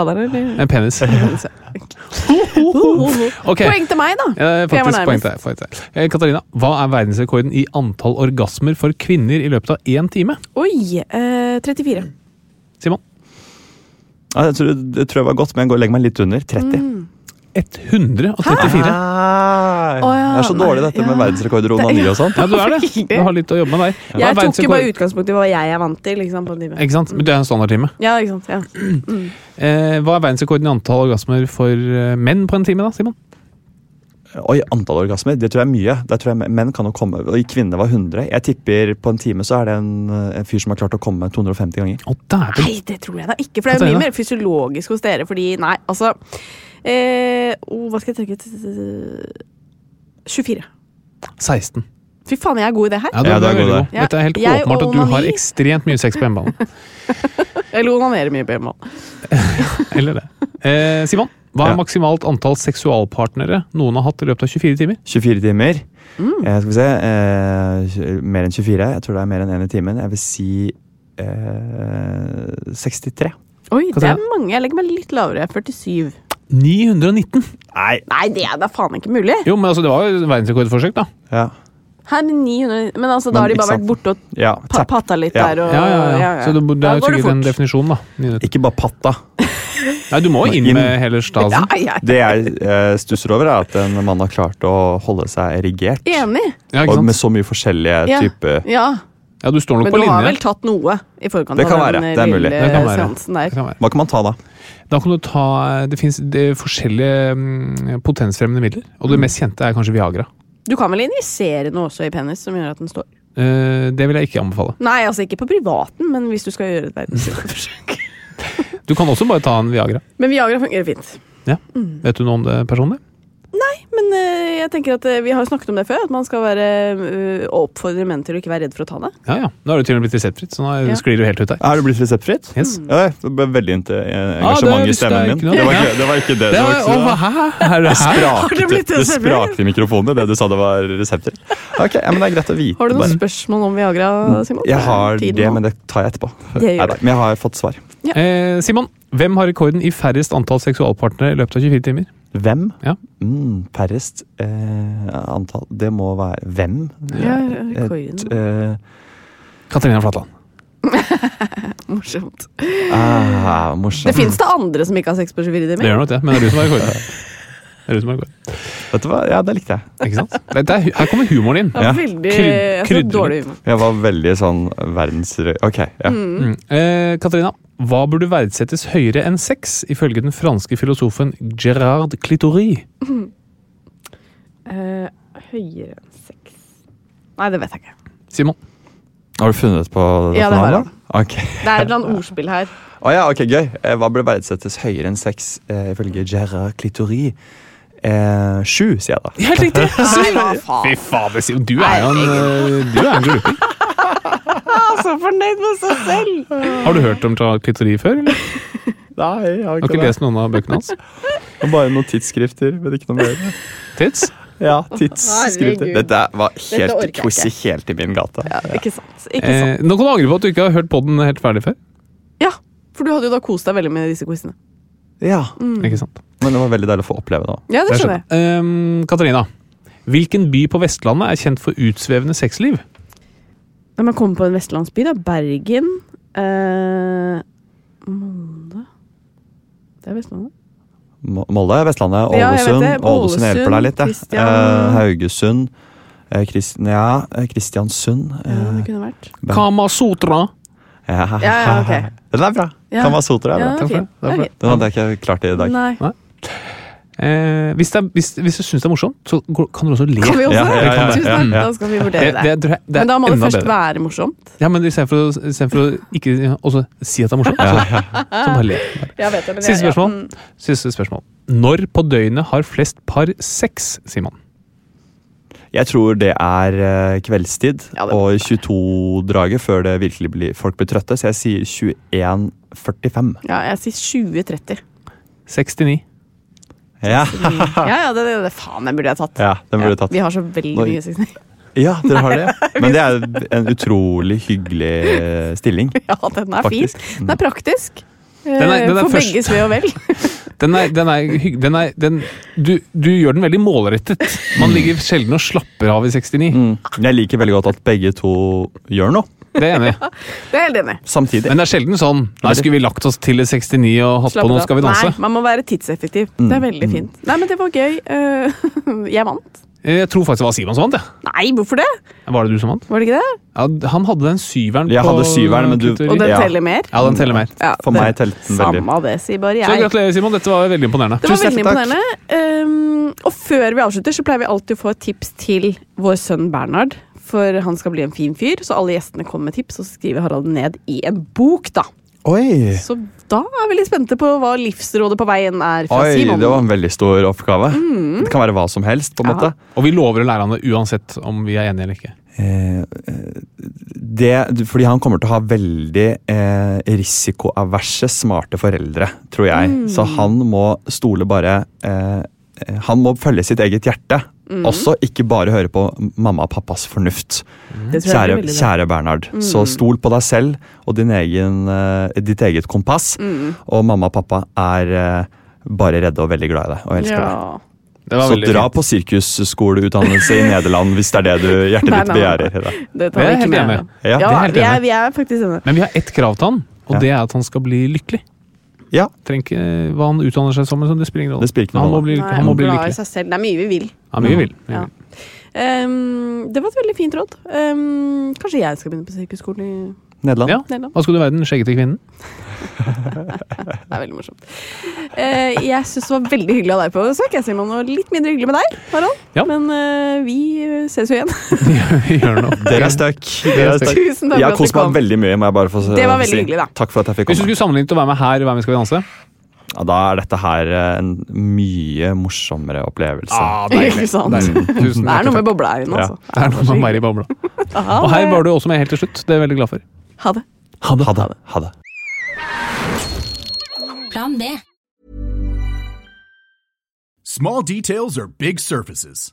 Laderen, eller?
En penis. Ok.
Poeng til meg, da!
Ja,
For jeg var
faktisk poeng
nærmest.
til deg, poeng til deg. Eh, Katarina, hva er verdensrekorden i antall orgasmer for kvinner i løpet av én time?
Oi! Eh, 34.
Simon?
Ja, jeg tror, det tror jeg var godt, men jeg går og legger meg litt under.
Mm.
30.
134.
Ah,
Å, ja,
jeg er så dårlig i dette med
nei, ja.
verdensrekorder og onani og sånn.
Ja, du er det. Du har litt å jobbe med der.
Jeg tok
Hva er
jo
verdensrekord-
bare utgangspunkt i hva jeg er vant til. Liksom, på en time.
Ikke sant? Men det er en standardtime.
Ja, ikke sant? Ja.
Eh, hva er verdensrekorden i antall orgasmer for eh, menn på en time, da, Simon?
Oi, antall orgasmer. Det tror jeg er mye. Det tror jeg Menn kan jo komme og Kvinner var 100. Jeg tipper på en time så er det en, eh, en fyr som har klart å komme 250 ganger.
Å, dæven!
Nei, det tror jeg da ikke, for det er jo
Katarina?
mye mer fysiologisk hos dere. Fordi, nei, altså eh, oh, Hva skal jeg trekke til 24.
16.
Fy faen, jeg er god i det her.
Ja, du,
Ja,
du
det
er
er
veldig
god,
god.
det.
Dette er helt
Jeg
åpenbart at du har
onani.
ekstremt mye sex på hjemmebanen.
Eller onanerer mye på hjemmehold.
Eller det. Eh, Simon, hva er
Ja.
maksimalt antall seksualpartnere noen har hatt i løpet av 24 timer?
24 timer.
Mm.
Eh, skal vi se eh, Mer enn 24. Jeg tror det er mer enn én i timen. Jeg vil si eh, 63.
Oi, det
Katarina?
er mange. Jeg legger meg litt lavere. 47.
919!
Nei!
Nei, det er da faen ikke mulig!
Jo, men altså, det var jo verdensrekordforsøk, da.
Ja.
Her med 900 Men altså, da
Men
har de
ikke
bare vært
sant.
borte og
ja
pa
tapp.
patta litt
Ja.
der og
Ja, ja, ja. Så det, det
Da
er jo
går det
sikkert en
fort.
definisjon, da. 900.
Ikke bare patta.
Nei, du må jo inn
Inn.
med hele stasen.
Ja, ja.
Det jeg eh, stusser over, er at en mann har klart å holde seg erigert.
Enig!
Ja, ikke
Og med
sant?
så mye forskjellige
Ja.
typer
ja.
Ja, du står nok
Men
på
du har
linje.
vel tatt noe i forkant
Det kan
av
være,
den eh,
det er mulig.
lille
Det kan være.
seansen
Det
der?
kan være.
Hva kan man ta da?
Da kan du ta Det fins forskjellige mm, potensfremmende midler, og det mest kjente er kanskje Viagra.
Du kan vel injisere noe også i penis som gjør at den står
Eh, det vil jeg ikke anbefale.
Nei, altså ikke på privaten, men hvis du skal gjøre et verdensrekordforsøk.
Du kan også bare ta en Viagra.
men Viagra fungerer fint.
Ja.
Mm.
Vet du noe om det personlig?
Men eh, jeg tenker at eh, vi har jo snakket om det før, at man skal være, eh, oppfordre menn til å ikke være redd for å ta det.
Ja, ja. Nå har du til og med blitt reseptfritt, så nå
Ja.
sklir du helt ut der.
Er det blitt reseptfritt?
Yes.
Ja, det ble veldig inte- eh,
Ah, det er
engasjement i
visst det er
stemmen min.
ikke noe.
Det var
Ja.
ikke det. Var ikke det.
Det
det, var
var,
ikke
å,
så-
hæ? Er det her?
det blitt
Sprakte, det
reseptfritt?
sprakte i mikrofonen det du sa det var resepter. Ok, ja, men Det er greit å vite.
Har du
bare.
noen spørsmål om Viagra, Simon?
Jeg har
Tiden
det,
nå.
men det tar jeg etterpå.
Det gjør
Neida,
det.
men jeg har fått svar.
Eh, Simon, hvem har rekorden i færrest antall seksualpartnere i løpet av 24 timer?
Hvem?
Ja.
Mm, Færrest eh, antall Det må være Hvem?
Ja, ja,
Et,
rekorden.
eh,
Katarina Flatland.
Morsomt.
ah, morsomt.
Det fins da andre som ikke har sex på 24
Det
timer.
gjør nok det, men det er du som har rekorden. Det er du som har rekorden.
Vet du hva? Ja, det likte jeg.
Ikke sant? Dette er, her kommer humoren inn.
Det er
Ja.
Veldig
Kryd-
jeg tror
krydder
dårlig
litt.
humor.
Jeg var veldig sånn verdensrød Ok, ja.
Mm. Eh, Katarina, hva burde verdsettes høyere enn sex, ifølge den franske filosofen Gerard Clitori?
Eh, høyere enn sex Nei, det vet jeg ikke.
Simon.
Har du funnet på det?
Ja, det har jeg.
Ok,
Det er et eller annet ordspill her.
Å ja, ok, gøy. Eh, Hva burde verdsettes høyere enn sex, eh, ifølge Gerard Clitori? Eh, sju, sier jeg da.
Helt riktig!
Nei, hva faen?
Fy fader, Simon. Du er jo en, eh, du er en gluping.
Jeg er så fornøyd med seg selv!
Har du hørt om Gerard Clitori før? Eller?
Nei, jeg har
Har ikke lest noen av bøkene hans?
Bare noen tidsskrifter, men ikke noe mer.
Tits?
Ja, tidsskrifter.
Herregud.
Dette var
Dette orker
helt
jeg ikke.
quizy helt i min gate.
Ja, ikke sant. Ikke sant.
Eh, nå kan du angre på at du ikke har hørt podden helt ferdig før.
Ja, for du hadde jo da kost deg veldig med disse quizene. Mm.
Ja,
Ikke sant?
Men det var veldig deilig å få oppleve det. da.
Ja, det skjønner jeg.
Eh, Katarina. Hvilken by på Vestlandet er kjent for utsvevende sexliv?
Når man kommer på en vestlandsby, da. Bergen. Eh, Molde Det er Vestlandet.
Mo- Molde, Vestlandet,
Ja, jeg vet
Ålesund.
det.
Ålesund jeg hjelper deg litt. jeg.
Kristian-
Eh, Haugesund. eh, Krist- ja, eh, Kristiansund.
Ja,
eh,
det kunne vært.
Bergen.
Kama Sotra.
Ja,
Ja, ja, ok.
Den er bra.
Ja.
Kamasotra er
Ja,
bra.
det er fint.
Det er
Det er
Den hadde jeg ikke klart i
fint.
dag.
Nei.
Eh, hvis, det er, hvis, hvis du syns det er morsomt, så går- kan du også le.
Kan vi også?
Ja, ja, ja,
Tusen
ja,
takk,
ja.
da skal vi
Det,
vurdere det.
det, tror jeg- det er
Men da må det
enda
først
bedre.
være morsomt.
Ja, men istedenfor å, i stedet for å ikke også si at det er morsomt, så, så bare le.
Jeg vet det, men
Siste
jeg- ja,
spørsmål.
mm.
Siste spørsmål. Når på døgnet har flest par sex, Simon?
Jeg tror det er eh, kveldstid
Ja, det må
og 22-draget før det virkelig blir, folk blir trøtte, så jeg sier 21.45.
Ja, jeg sier 2030.
69.
Ja,
Ja, ja, det, det, det faen, den burde jeg tatt.
ja den burde du tatt.
Vi har så veldig
Nå-
mye 69.
Ja, dere har det. ja. Men det er en utrolig hyggelig eh, stilling.
Ja, den er fin.
Faktisk.
Den er praktisk.
Den er- den er
For
først-
begges ve og vel.
Den er, den er, hygg- den er den, du, du gjør den veldig målrettet. Man ligger sjelden og slapper av i 69.
Mm. Jeg liker veldig godt at begge to gjør noe
Det er jeg enig i.
Det er jeg helt enig. i.
samtidig.
Men det er sjelden sånn Nei, skulle vi lagt oss til i 69 og hatt
Slapp
på noe
av.
Skal vi danse? Mm.
Nei, man må være tidseffektiv. Det er veldig fint. Nei, men det var gøy. Eh, jeg vant.
Jeg tror faktisk det var Simon som vant, jeg.
Nei, hvorfor det?
Var det du som vant?
Var det ikke det?
Ja, han hadde den syveren.
Jeg
på
hadde syveren, men du-
kutteri.
Og den
Ja.
teller mer?
Ja, den teller mer.
Ja,
For meg telte den veldig.
Samme av det, sier bare
Så
jeg.
gratulerer, Simon. Dette var veldig imponerende.
Det var
Tusen
veldig
hjertelig takk.
imponerende. Ehm, og før vi avslutter, så pleier vi alltid å få et tips til vår sønn Bernhard. For han skal bli en fin fyr, så alle gjestene kommer med tips, og så skriver Harald ned i en bok, da.
Oi,
Så da er vi litt spente på hva livsrådet på veien er fra
Oi
Simon.
det var en veldig stor oppgave.
Mm.
Det kan være hva som helst. på en måte.
Og vi lover å lære han det uansett om vi er enige eller ikke.
Eh, eh, det, fordi han kommer til å ha veldig eh, risikoaverse, smarte foreldre, tror jeg.
Mm.
Så han må stole bare eh, eh, Han må følge sitt eget hjerte.
Mm.
Også ikke bare høre på mamma og pappas fornuft.
Det tror jeg
Kjære,
blir veldig bra. Mm.
kjære Bernhard, så stol på deg selv og din egen, eh, ditt eget kompass.
Mm.
Og mamma og pappa er eh, bare redde og veldig glad i deg og elsker deg.
ja.
Det var
Så
veldig
dra
fint.
på sirkusskoleutdannelse i Nederland hvis det er det du hjertet
Nei,
ditt
nei, nei.
begjærer. Da.
Det
Det
tar
er
vi
helt
ikke med.
enig.
Ja,
Ja,
det er helt
vi, er,
enig.
vi er faktisk enige.
Men vi har ett krav til han, og
Ja.
det er at han skal bli lykkelig.
Ja.
Trenger ikke hva han utdanner seg som, men det spiller ingen rolle.
Det spiller ikke
Men han,
noe
må bli,
Nei,
han må bli
glad i
lykkelig.
seg selv. Det er mye vi vil.
Ja, mye vil. Mye
Ja.
vil.
Ehm, det var et veldig fint råd. Ehm, kanskje jeg skal begynne på sirkusskolen i
Nederland?
Ja.
Nederland.
Hva skal du være, den skjeggete kvinnen?
Det er veldig morsomt. Eh, jeg syns det var veldig hyggelig av deg på besøk, jeg, Simon, og litt mindre hyggelig med deg, Harald.
Ja.
Men eh, vi ses jo igjen.
Vi gjør noe.
Dere er stuck. Dere er stuck.
Tusen
Jeg
takk for
har
at du
kost meg
kom.
veldig mye. må jeg bare få
Det var veldig
si.
hyggelig, da.
Takk for at jeg fikk
Hvis du
komme.
skulle sammenlignet å være med her og være med Skal vi danse
Ja, da er dette her eh, en mye morsommere opplevelse.
Ikke sant? Det
Ah, Tusen
er
hjertelig
noe
takk.
med bobla her inne,
Ja.
altså.
Det er noe med Mari Bobla. Og her var du også med helt til slutt. Det er jeg veldig glad for.
Ha det.
Ha det. Ha det. Ha det.
Plan B.
Small details are big surfaces.